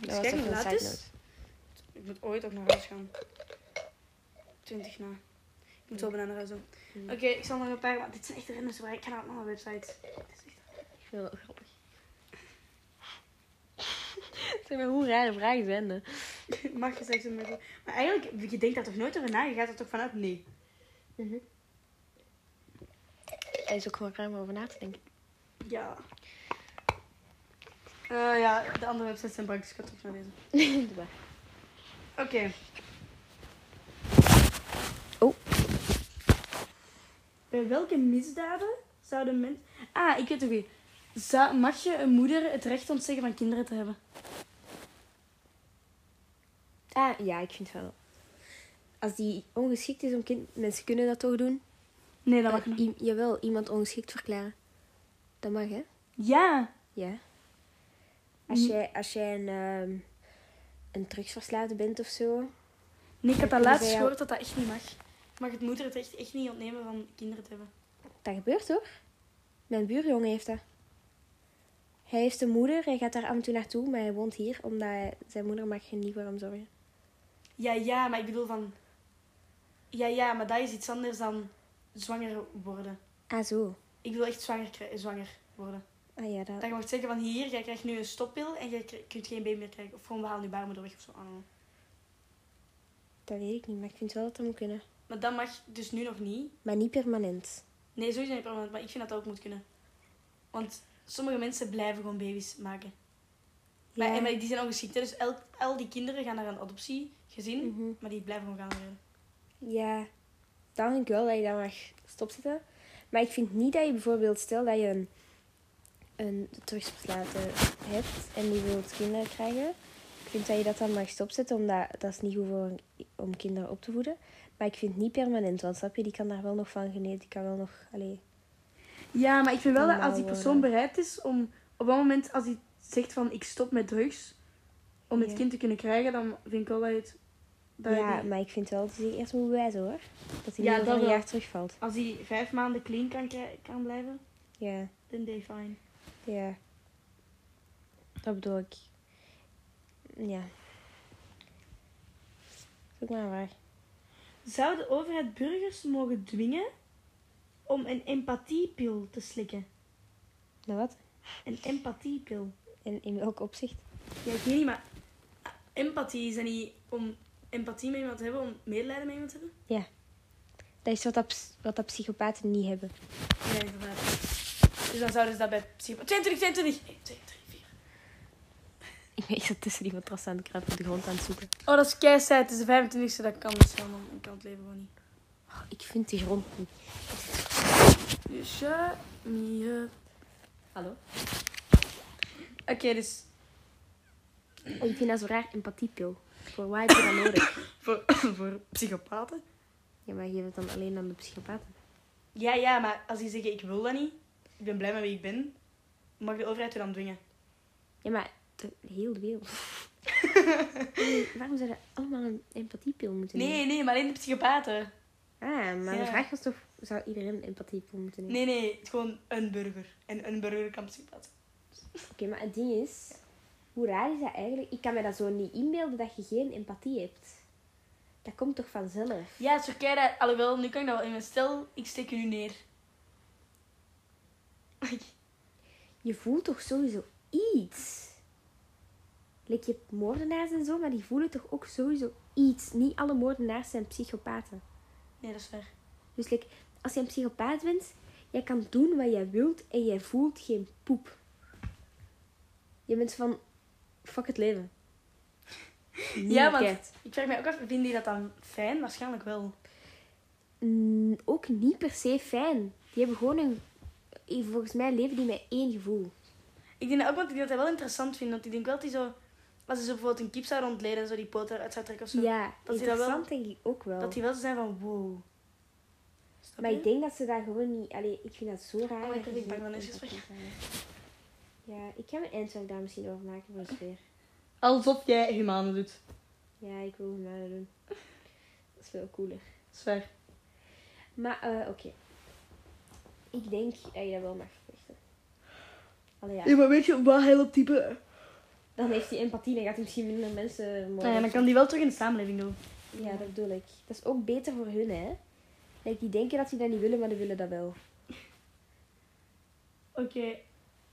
A: Dus kijk hoe laat het is. Ik moet ooit ook naar huis gaan. 20 na. Ik moet wel bijna naar huis doen.
E: Hmm.
A: Oké, ik zal nog een paar... Maar dit zijn echt renners, maar ik kan naar alle websites.
E: Ik vind dat wel grappig. zeg maar, hoe rare vragen zijn dat?
A: Mag je seks doen met... Maar eigenlijk, je denkt daar toch nooit over na? Je gaat er toch vanuit? Nee.
E: Er is ook gewoon ruim over na te denken.
A: Ja. Eh, ja, de andere websites zijn praktisch. Ik ga terug naar deze. Oké.
E: Oh.
A: Bij welke misdaden zouden mensen... Ah, ik weet het weer. Zou... Mag je een moeder het recht ontzeggen van kinderen te hebben?
E: Ah, ja, ik vind wel. Als die ongeschikt is om kind... Mensen kunnen dat toch doen?
A: Nee, dat mag niet.
E: I- jawel, iemand ongeschikt verklaren. Dat mag, hè?
A: Ja.
E: Ja. Als jij, als jij een, ehm een drugsverslaafde bent of zo.
A: Nee, ik had dat
E: Ik
A: laatst
E: zei al-
A: gehoord dat dat echt niet mag. Mag het moeder het recht echt niet ontnemen van kinderen te hebben?
E: Dat gebeurt hoor. Mijn buurjongen heeft dat. Hij heeft een moeder, hij gaat daar af en toe naartoe, maar hij woont hier omdat hij- zijn moeder mag er niet voor hem zorgen.
A: Ja, ja, maar ik bedoel van... Ja, ja, maar dat is iets anders dan zwanger worden.
E: Ah, zo.
A: Ik wil echt zwanger, krij- zwanger worden.
E: Ah ja, dat.
A: Dat je mag zeggen van hier, jij krijgt nu een stoppil en jij kri- kunt geen baby meer krijgen. Of gewoon we halen je baarmoeder weg of zo. I don't know.
E: Dat weet ik niet, maar ik vind wel dat dat moet kunnen.
A: Maar dat mag dus nu nog niet.
E: Maar niet permanent.
A: Nee, sowieso niet permanent, maar ik vind dat dat ook moet kunnen. Want sommige mensen blijven gewoon baby's maken. Maar,
E: Ja.
A: en, maar die zijn ongeschikt, hè. dus al, al die kinderen gaan naar een adoptiegezin,
E: Mhm.
A: maar die blijven gewoon gaan worden.
E: Ja, dan vind ik wel dat je dat mag stopzetten. Maar ik vind niet dat je bijvoorbeeld, stel dat je een, een drugsverslaafde hebt en die wilt kinderen krijgen. Ik vind dat je dat dan mag stopzetten, omdat dat is niet goed voor een- om kinderen op te voeden. Maar ik vind het niet permanent, want snap je, die kan daar wel nog van genieten. Die kan wel nog, allee,
A: Ja, maar ik vind wel dat als die
E: Nou, eh,
A: persoon bereid is om op dat moment, als hij zegt van ik stop met drugs, om het
E: Ja.
A: kind te kunnen krijgen, dan vind ik wel dat je het. Dat je
E: ja,
A: die-
E: maar ik vind wel dat hij eerst moet bewijzen hoor. Dat hij
A: Ah, Ja,
E: niet over
A: dat
E: een
A: wel.
E: jaar terugvalt.
A: Als hij vijf maanden clean kan, krij- kan blijven,
E: Ja,
A: dan day fine.
E: ja. Dat bedoel ik. Ja. Zoek maar waar.
A: Zou de overheid burgers mogen dwingen om een empathiepil te slikken?
E: Nou wat?
A: Een empathiepil.
E: En in welk opzicht?
A: Ja, ik weet niet, maar empathie is dat niet om empathie met iemand te hebben, om medelijden met iemand te hebben?
E: Dat is wat dat, ps- wat dat psychopaten niet hebben.
A: Ja, inderdaad. Dus dan zouden ze dat bij psycho... 22, 22! 1, 2, 3, 4.
C: Ik ben echt tussen die matras aan de krab op de grond aan het zoeken.
A: Oh, dat is keizijd. Het is de 25e, dat kan dus wel, man. Ik kan het leven gewoon niet.
C: Oh, Ik vind die grond niet.
A: You shut me up.
C: Hallo?
A: Oké, dus...
C: Oh, Ik vind dat zo raar, empathiepil. Voor waar heb je dat nodig?
A: Voor, voor psychopaten?
C: Ja, maar geef het dan alleen aan de psychopaten.
A: Ja, ja, maar als die zeggen, ik wil dat niet, ik ben blij met wie ik ben, mag de overheid je dan dwingen?
C: Ja, maar de hele wereld. Waarom zouden allemaal een empathiepil moeten nemen?
A: Nee, nee, maar alleen de psychopaten.
C: Ah, maar
A: Ja.
C: de vraag was toch, zou iedereen een empathiepil moeten nemen?
A: Nee, nee, het is gewoon een burger. En een burger kan psychopaat zijn.
E: Oké, maar het ding is... Hoe raar is dat eigenlijk? Ik kan me dat zo niet inbeelden dat je geen empathie hebt. Dat komt toch vanzelf?
A: Ja, zo kei dat. Alhoewel, nu kan ik dat wel in mijn stel, ik steek je nu neer.
E: Je voelt toch sowieso iets? Like, je hebt moordenaars en zo, maar die voelen toch ook sowieso iets? Niet alle moordenaars zijn psychopaten.
A: Nee, dat is waar.
E: Dus like, als je een psychopaat bent, jij kan doen wat jij wilt en jij voelt geen poep. Je bent van fuck het leven.
A: Ja, want-
E: Niemand.
A: Ik vraag mij ook af, vinden die dat dan fijn? Waarschijnlijk wel.
E: Mm, ook niet per se fijn. Die hebben gewoon een. eh, Volgens mij leven die met één gevoel.
A: Ik denk dat ook, want ik denk dat hij wel interessant vindt. Want ik denk wel dat hij zo... Als hij zo bijvoorbeeld een kip zou ontleden en zo die poot eruit zou trekken of zo.
E: ja,
A: dat die dat wel-
E: interessant denk ik ook wel.
A: Dat die wel zo zijn van, wow. Snap
E: Maar
A: je?
E: ik denk dat ze daar gewoon niet. Allee, ik vind dat zo raar.
A: Oh, ik
E: dat
A: ben
E: ze
A: bang
E: niet
A: van deze
E: empathisch zijn. Ja, ik ga mijn eindwerk daar misschien over maken voor de sfeer.
A: Alsof jij humane doet.
E: Ja, ik wil hem wel doen. Dat is veel cooler.
A: Zwaar.
E: Maar, eh, oké. Ik denk dat je dat wel mag verplichten. Allee, ja.
A: Ja, maar weet je waar hij op type...
E: Dan heeft hij empathie, dan gaat hij misschien minder mensen moorden.
A: Nou ja, dan kan die wel terug in de samenleving doen.
E: Ja, dat bedoel ik. Dat is ook beter voor hun, hè. Like, die denken dat ze dat niet willen, maar die willen dat wel.
A: Oké,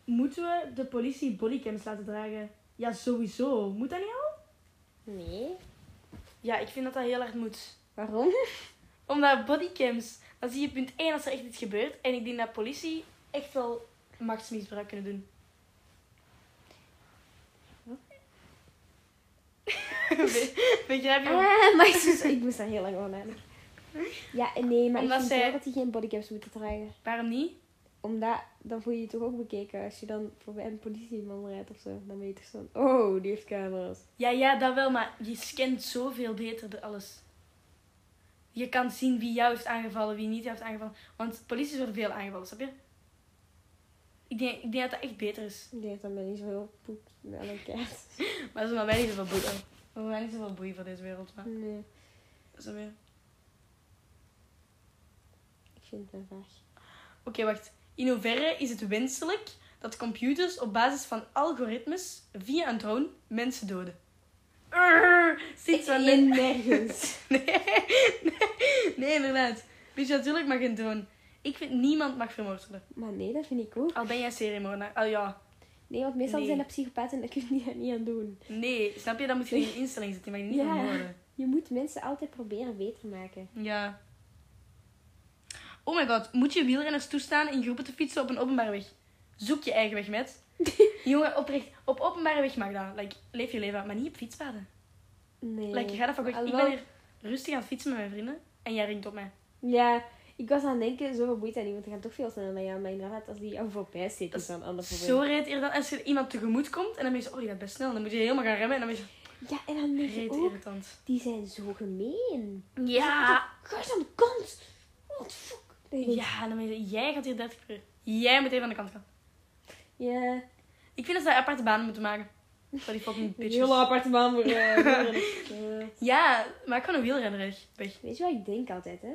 A: moeten we de politie bodycams laten dragen? Ja, sowieso. Moet dat niet al?
E: Nee.
A: Ja, ik vind dat dat heel hard moet.
E: Waarom?
A: Omdat bodycams, dan zie je punt 1 als er echt iets gebeurt. En ik denk dat politie echt wel machtsmisbruik kunnen doen.
C: Begrijp je?
E: Ah, maar het is- ik moest daar heel lang over nadenken. Ja, en nee, maar
A: Omdat
E: ik vind
A: zij-
E: wel dat die geen bodycaps moeten dragen.
A: Waarom niet?
E: Omdat, dan voel je je toch ook bekeken als je dan voor een politieman rijdt of zo. Dan weet je toch zo, oh, die heeft camera's.
A: Ja, ja, dat wel, maar je scant zoveel beter de- alles. Je kan zien wie jou heeft aangevallen, wie niet jou heeft aangevallen. Want politie worden veel aangevallen, snap je? Ik denk, ik denk dat dat echt beter is.
E: Die heeft dan met niet zoveel poep aan een kaart.
A: Maar dat is voor mij niet zoveel boeien. Dat is mij niet zoveel boeien voor deze wereld. Maar.
E: Nee,
A: Snap je?
E: ik vind het een vraag.
A: Oké, wacht. In hoeverre is het wenselijk dat computers op basis van algoritmes via een drone mensen doden? Urgh, Ziet van
E: Nee, nergens.
A: Nee, nee, inderdaad. Weet je, natuurlijk mag een drone. Ik vind niemand mag vermoord worden.
E: maar nee, dat vind ik ook.
A: Al ben jij seriemoordenaar. Al ja.
E: Nee, want meestal
A: Nee.
E: zijn dat psychopaten en daar kun je daar niet aan doen.
A: Nee, snap je? Dan moet je in een instelling zitten. Je mag niet
E: Ja.
A: vermoorden.
E: Je moet mensen altijd proberen beter maken.
A: Ja. Oh my god, moet je wielrenners toestaan in groepen te fietsen op een openbare weg? Zoek je eigen weg met. Jongen, oprecht. Op openbare weg mag dat. Like, leef je leven, maar niet op fietspaden.
E: Nee.
A: Like, ga dat van goed. Ik
E: Alhoewel-
A: ben hier rustig aan het fietsen met mijn vrienden. En jij ringt op mij.
E: Ja, ik was aan het denken, zoveel boeit dat niet, want die gaan toch veel sneller dan jou. Maar inderdaad, als die jou voorbij steekt, is dat een ander probleem.
A: Zo reed je dan. Als er iemand tegemoet komt en dan ben je zo, oh, die gaat best snel. Dan moet je helemaal gaan remmen en dan ben je zo,
E: Ja, en dan denk je
A: reet
E: ook,
A: irritant.
E: die zijn zo gemeen.
A: Ja.
E: Ga eens aan de kant! What the fuck? Dan denk ik,
A: Ja, dan ben je, jij gaat hier 30 per uur. Jij moet even aan de kant gaan.
E: Ja,
A: Ik vind dat ze daar aparte banen moeten maken. Voor die fucking
E: een
A: bitches.
E: hele aparte man voor... eh, voor- Ja.
A: Ja, maak gewoon een wielrenner weg. weg.
E: Weet je wat ik denk altijd, hè?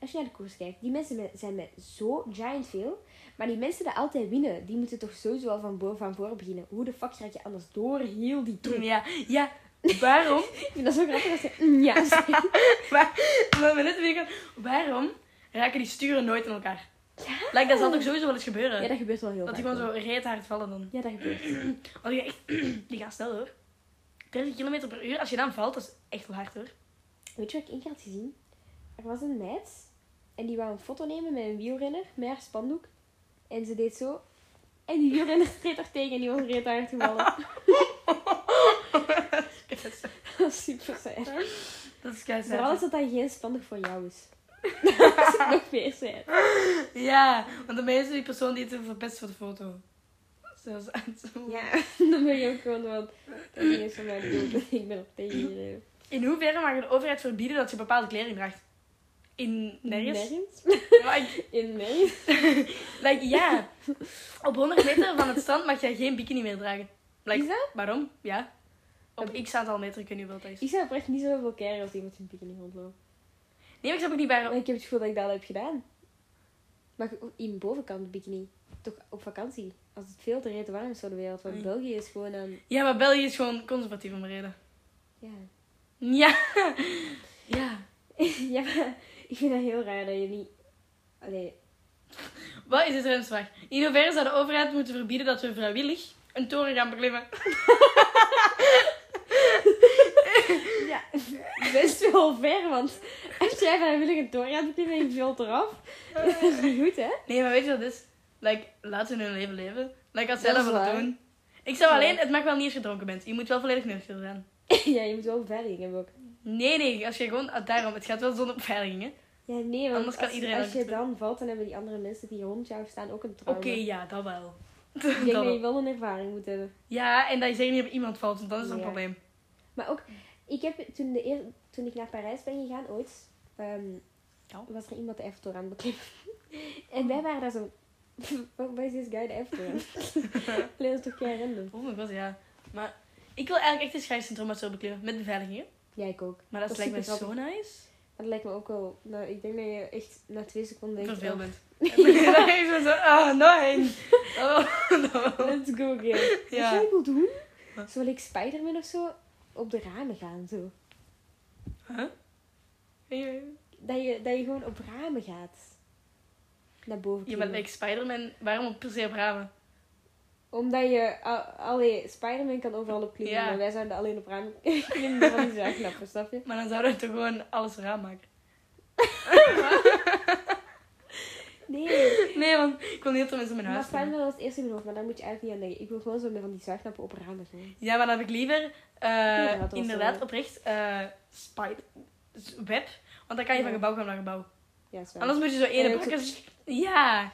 E: Als je naar de koers kijkt, die mensen met- zijn met zo giant veel. Maar die mensen die altijd winnen, die moeten toch sowieso al van, bo- van voor beginnen. Hoe de fuck raak je anders door heel die troep?
A: Ja, ja. Waarom?
E: Ik vind dat zo grappig als ze... mm, ja, zeggen.
A: Waar we net weer gaan- Waarom raken die sturen nooit in elkaar? Lijkt dat zal toch sowieso wel eens gebeuren.
E: ja, dat gebeurt wel heel
A: dat die
E: vaak,
A: gewoon zo reet hard vallen dan.
E: hoor. Ja, dat gebeurt.
A: Want die, gaan echt- die gaan snel hoor. 30 km per uur, als je dan valt, dat is echt wel hard hoor.
E: Weet je wat ik één keer had gezien? Er was een meid en die wou een foto nemen met een wielrenner met haar spandoek. En ze deed zo. En die wielrenner streed er tegen en die was reet hard gevallen. dat is super saai.
A: Dat is kei
E: Vooral
A: saai.
E: is dat dat geen spandoek voor jou is. dat is nog meer saai.
A: Ja, want dan ben je zo die persoon die het heeft verpest voor de foto. Zelfs aan zo.
E: Ja, dan ben je ook gewoon van. Dat ding is van mij bedoeld. Ik ben er tegen iedereen.
A: In hoeverre mag de overheid verbieden dat je bepaalde kleding draagt? In nergens?
E: Nergens?
A: Like,
E: In nergens?
A: like, ja. Op 100 meter van het strand mag jij geen bikini meer dragen. Like,
E: Is dat?
A: Waarom? Ja. Op x aantal meter, ik weet niet hoeveel dat is.
E: Ik zou oprecht niet zoveel keren als iemand in bikini rondloopt.
A: Nee, maar ik snap ook niet waarom.
E: Maar ik heb het gevoel dat ik dat al heb gedaan. Maar in bovenkant bikini. Toch op vakantie. Als het veel te reet warm is voor de wereld. Want
A: Oei.
E: België is gewoon aan...
A: Ja, maar België is gewoon conservatief om reden.
E: Ja.
A: Ja. Ja.
E: ja, maar ik vind dat heel raar dat je niet... Allee.
A: Wat is de trendvraag? In hoeverre zou de overheid moeten verbieden dat we vrijwillig een toren gaan beklimmen?
E: Ja, best wel ver. Want als jij vrijwillig een toren gaat beklimmen en je vult eraf.
A: Eh.
E: Dat is niet goed, hè?
A: Nee, maar weet je wat het is? Like, laten hun hun leven leven. Like, als zij dat
E: Dat is
A: willen
E: waar.
A: doen. Ik zou
E: Ja.
A: alleen, het mag wel niet als je dronken bent. Je moet wel volledig nuchter zijn.
E: ja, je moet wel beveiliging hebben ook.
A: Nee, nee, als je gewoon, ah, daarom, het gaat wel zonder beveiliging, hè?
E: Ja, nee, want
A: Anders kan
E: als,
A: iedereen
E: als je
A: ook-
E: dan valt, dan hebben die andere mensen die rond jou staan ook een
A: Oké,
E: trauma.
A: ja, dat wel.
E: Ik denk
A: Dat
E: dat
A: wel.
E: je wel een ervaring moet hebben.
A: Ja, en dat je zeker niet op iemand valt, want dat is het een
E: Ja.
A: probleem.
E: Maar ook, ik heb toen, de eer, toen ik naar Parijs ben gegaan ooit, ehm,
A: Ja.
E: was er iemand de Eiffeltoren aan het beklimmen. en wij waren daar zo, waarom is deze guy de Eiffeltoren? Alleen dat is toch geen random.
A: Oh mijn god, ja. Maar ik wil eigenlijk echt een schrijfcentrum met zo beklimmen. Met beveiliging, hè?
E: Ja, ik ook.
A: Maar dat,
E: Dat is
A: lijkt me
E: super
A: zo nice.
E: Maar dat lijkt me ook wel, nou, ik denk dat je echt na twee seconden denkt,
A: Verveeld
E: oh,
A: bent. Dan is het zo, oh, nee. Oh, no.
E: let's go again. Weet je
A: Ja.
E: wat ik wil doen?
A: Wat?
E: Zo wil ik Spider-Man of zo op de ramen gaan, zo. Dat je, dat je gewoon op ramen gaat. Naar boven
A: Ja, maar
E: klimmen.
A: like Spider-Man, waarom op per se op ramen?
E: Omdat je, al- allee, Spider-Man kan overal op klimmen,
A: Ja.
E: maar wij zouden alleen op ramen klimmen van die zaaknappen, snap je?
A: Maar dan zouden we toch gewoon alles raam maken.
E: Nee,
A: Nee, want ik wil niet dat er mensen in mijn
E: maar
A: huis komen.
E: schuimdrempel was het eerste in mijn hoofd, maar daar moet je eigenlijk niet aan denken. Ik wil gewoon zo met van die zuignappen op ramen gewoon.
A: Ja, maar dan heb ik liever eh,
E: dat was
A: inderdaad
E: wel-
A: oprecht eh spider z- web. Want dan kan je van
E: Ja.
A: gebouw gaan naar gebouw.
E: Ja, is waar.
A: Anders moet je zo
E: En
A: ene
E: ook zo-
A: bakkers... Ja.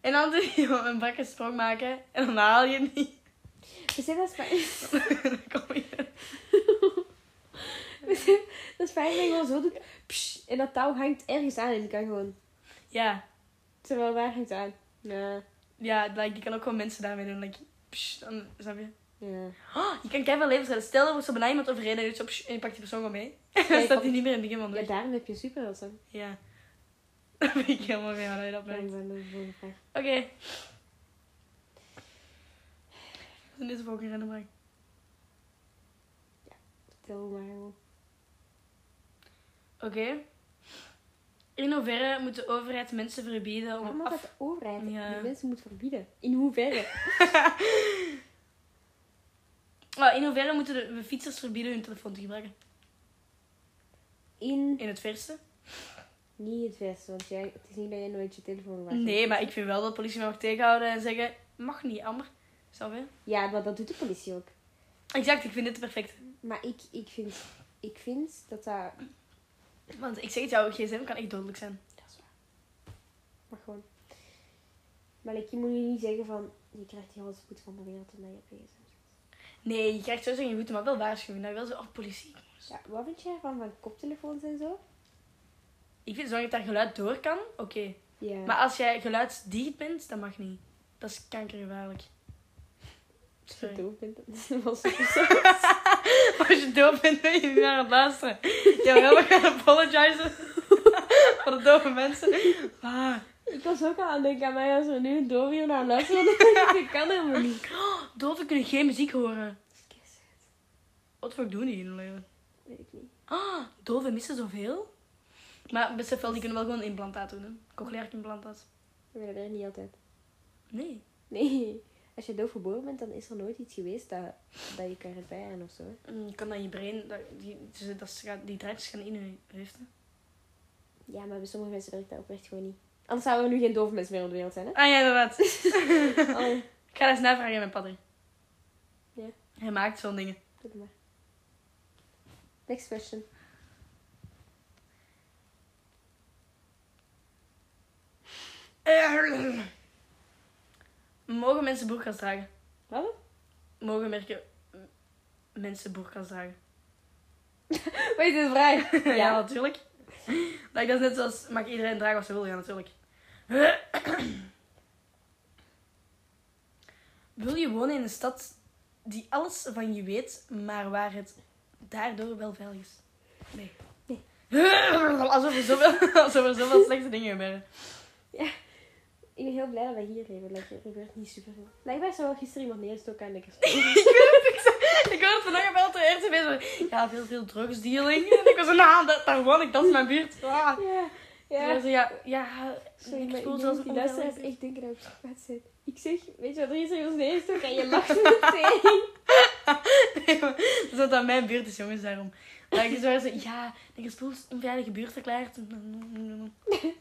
A: En dan doe je een bakkerssprong maken. En dan haal je het niet.
E: Besef dat spa-
A: Dan kom je...
E: besef dat Spider-Man gewoon zo doet. pssst, en dat touw hangt ergens aan en die kan gewoon...
A: Ja.
E: Terwijl waar hangt het aan? Ja.
A: Ja, like, je kan ook gewoon mensen daarmee doen. Like, psh, dan, snap je?
E: Ja.
A: Oh, je kan keihard levens redden. Stel, er wordt zo bijna iemand overreden. doet zo, psh, en je pakt die persoon gewoon mee. Dan staat die niet meer in het begin van de
E: Ja,
A: weg.
E: daarom heb je superhelden.
A: Ja. Dat vind ik helemaal geen waar je dat
E: Ja,
A: brengt.
E: ik ben de volgende vraag.
A: Oké. Dan is het ook een random vraag.
E: Vertel maar gewoon.
A: Oké. In hoeverre moet de overheid mensen verbieden om
E: Waarom
A: Oh, af...
E: gaat de overheid
A: Ja.
E: die mensen moet verbieden? In hoeverre?
A: Oh, in hoeverre moeten de de fietsers verbieden hun telefoon te gebruiken?
E: In
A: In het verste?
E: niet het westen, want jij, het is niet dat jij nooit je telefoon was.
A: Nee, maar ik vind wel dat de politie mij mag tegenhouden en zeggen... Mag niet, Amber. Snap je?
E: Ja, maar dat doet de politie ook.
A: Exact, ik vind dit perfect.
E: Maar ik, ik, vind, ik vind dat dat...
A: Want ik zeg het jou, gsm kan echt dodelijk zijn.
E: Dat is waar. Maar gewoon... Maar like, je moet nu niet zeggen van... Je krijgt hier alles goed van de wereld omdat je op je gsm zit.
A: Nee, je krijgt sowieso geen boete, maar wel waarschuwing. Nou, wel zo, oh, politie.
E: Ja, wat vind jij van, van koptelefoons en zo?
A: Ik vind, zolang het daar geluid door kan, oké.
E: Ja.
A: Maar als jij geluidsdicht bent, dat mag niet. Dat is kankergevaarlijk.
E: als je
A: Sorry.
E: doof bent, dat is wel super
A: Als je doof bent, ben je niet naar het luisteren. Ja, maar we gaan apologizen voor de dove mensen. Ah,
E: Ik was ook al aan het denken aan mij als we nu door hier naar luisteren. dan denk ik, Dat kan helemaal niet.
A: doven kunnen geen muziek horen.
E: Kiss.
A: Wat voor doen die in hun leven?
E: Weet ik niet.
A: Ah, doven missen zoveel. Maar besef wel, die kunnen wel gewoon een implantaat doen. hè. Cochleair implantaat.
E: Maar dat werkt niet altijd.
A: Nee.
E: Nee. Als je doof geboren bent, dan is er nooit iets geweest dat, dat je kan repareren of zo. hè.
A: Je Mm, kan dan je brein, dat, die, dus dat ze gaan- die draadjes gaan in hun hoofden.
E: Ja, maar bij sommige mensen werkt dat oprecht gewoon niet. Anders zouden er nu geen doof mensen meer op de wereld zijn, hè?
A: Ah ja, inderdaad.
E: Oh,
A: Ik ga dat eens navragen aan mijn padder.
E: Ja.
A: Hij maakt zo'n dingen.
E: doe het maar. Next question.
A: Eh. Mogen mensen boerkas dragen?
E: Wat?
A: Mogen merken m- mensen boerkas dragen?
E: Wat is dit vraag?
A: Ja,
E: Ja.
A: natuurlijk. Like, dat is net zoals, mag iedereen dragen wat ze wil? Ja, natuurlijk. wil je wonen in een stad die alles van je weet, maar waar het daardoor wel veilig is? Nee. alsof, er zoveel, alsof er zoveel slechte dingen gebeuren.
E: Ik ben heel blij dat wij hier leven. Like, er gebeurt niet superveel. Blijkbaar zou wel gisteren iemand neerstoken aan de kerst.
A: Ik hoorde vandaag op LTR RTB zo... Ja, veel, veel drugsdealing. En ik was zo, nou, dat, daar woon ik, dat is mijn buurt. Ah.
E: Ja.
A: Ja.
E: Ja.
A: Zo, ja, ja,
E: Sorry,
A: ik
E: maar ik
A: voel
E: denk
A: zelfs
E: dat
A: een
E: die luisteraars
A: onveilig-
E: echt denken dat ik psychopaat ben. Ik zeg, weet je wat, er is er iemand neerstoken en je lacht meteen.
A: Dus dat dat mijn buurt is, jongens, daarom. Maar ik zo, zo, ja, de gespoel is onveilige buurt verklaard.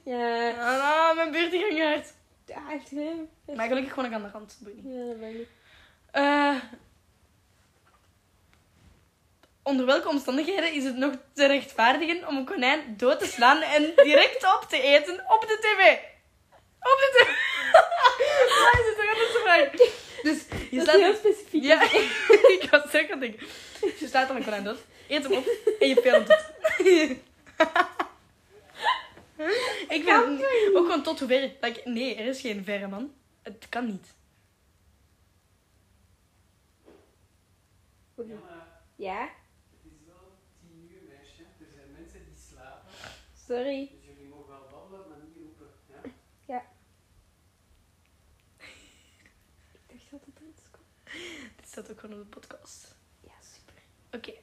E: Ja.
A: Ah, nou, mijn buurt die ging hard.
E: Ja, echt hè?
A: Maar gelukkig gewoon ik aan de rand. boeit niet.
E: Ja, dat ben ik.
A: Eh, onder welke omstandigheden is het nog te rechtvaardigen om een konijn dood te slaan en direct op te eten op de tv? Op de tv! Dat is het toch anders te vragen? Dus je
E: Dat is
A: slaat
E: heel specifiek.
A: Ja, ik was zeker denken. Je slaat dan een konijn dood, eet hem op en je filmt het. ik vind ook gewoon tot hoever. Like, nee, er is geen verre man. Het kan niet.
E: Oké. Ja,
D: Het is wel tien uur, meisje. Er zijn mensen die slapen.
E: sorry.
D: Dus jullie mogen wel babbelen, maar niet roepen. Ja?
E: Ik dacht dat het erin kwam.
A: Dit staat ook gewoon op de podcast.
E: Ja, super.
A: Oké.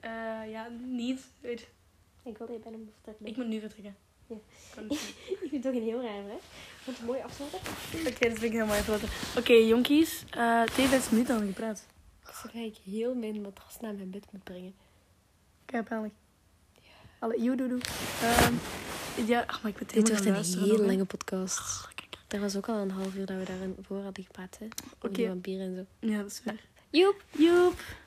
A: Eh, ja, niet. Weet, je.
E: Ik wilde je bijna mijn vertrek
A: ik
E: doen.
A: moet nu vertrekken.
E: Ja.
A: Kan niet.
E: Ik vind het toch een heel raar, hè? Ik vond het mooi afsluiten.
A: Oké, dat vind ik helemaal even later. Oké, jonkies. eh 22 minuten al gepraat.
G: Dus ga ik heel mijn matras naar mijn bed moet brengen.
A: Kijk, pijnlijk. Alle, joe, doe, doe. Ehm, Ja, ach, maar ik moet helemaal
E: Dit wordt
A: gaan
E: een
A: luisteren
E: hele
A: nog, hè.
E: lange podcast. Ah, Er was ook al een half uur dat we daarvoor hadden gepraat, hè. Over
A: Oké.
E: die vampieren en zo.
A: Ja, dat is waar.
E: Joep!
A: Joep.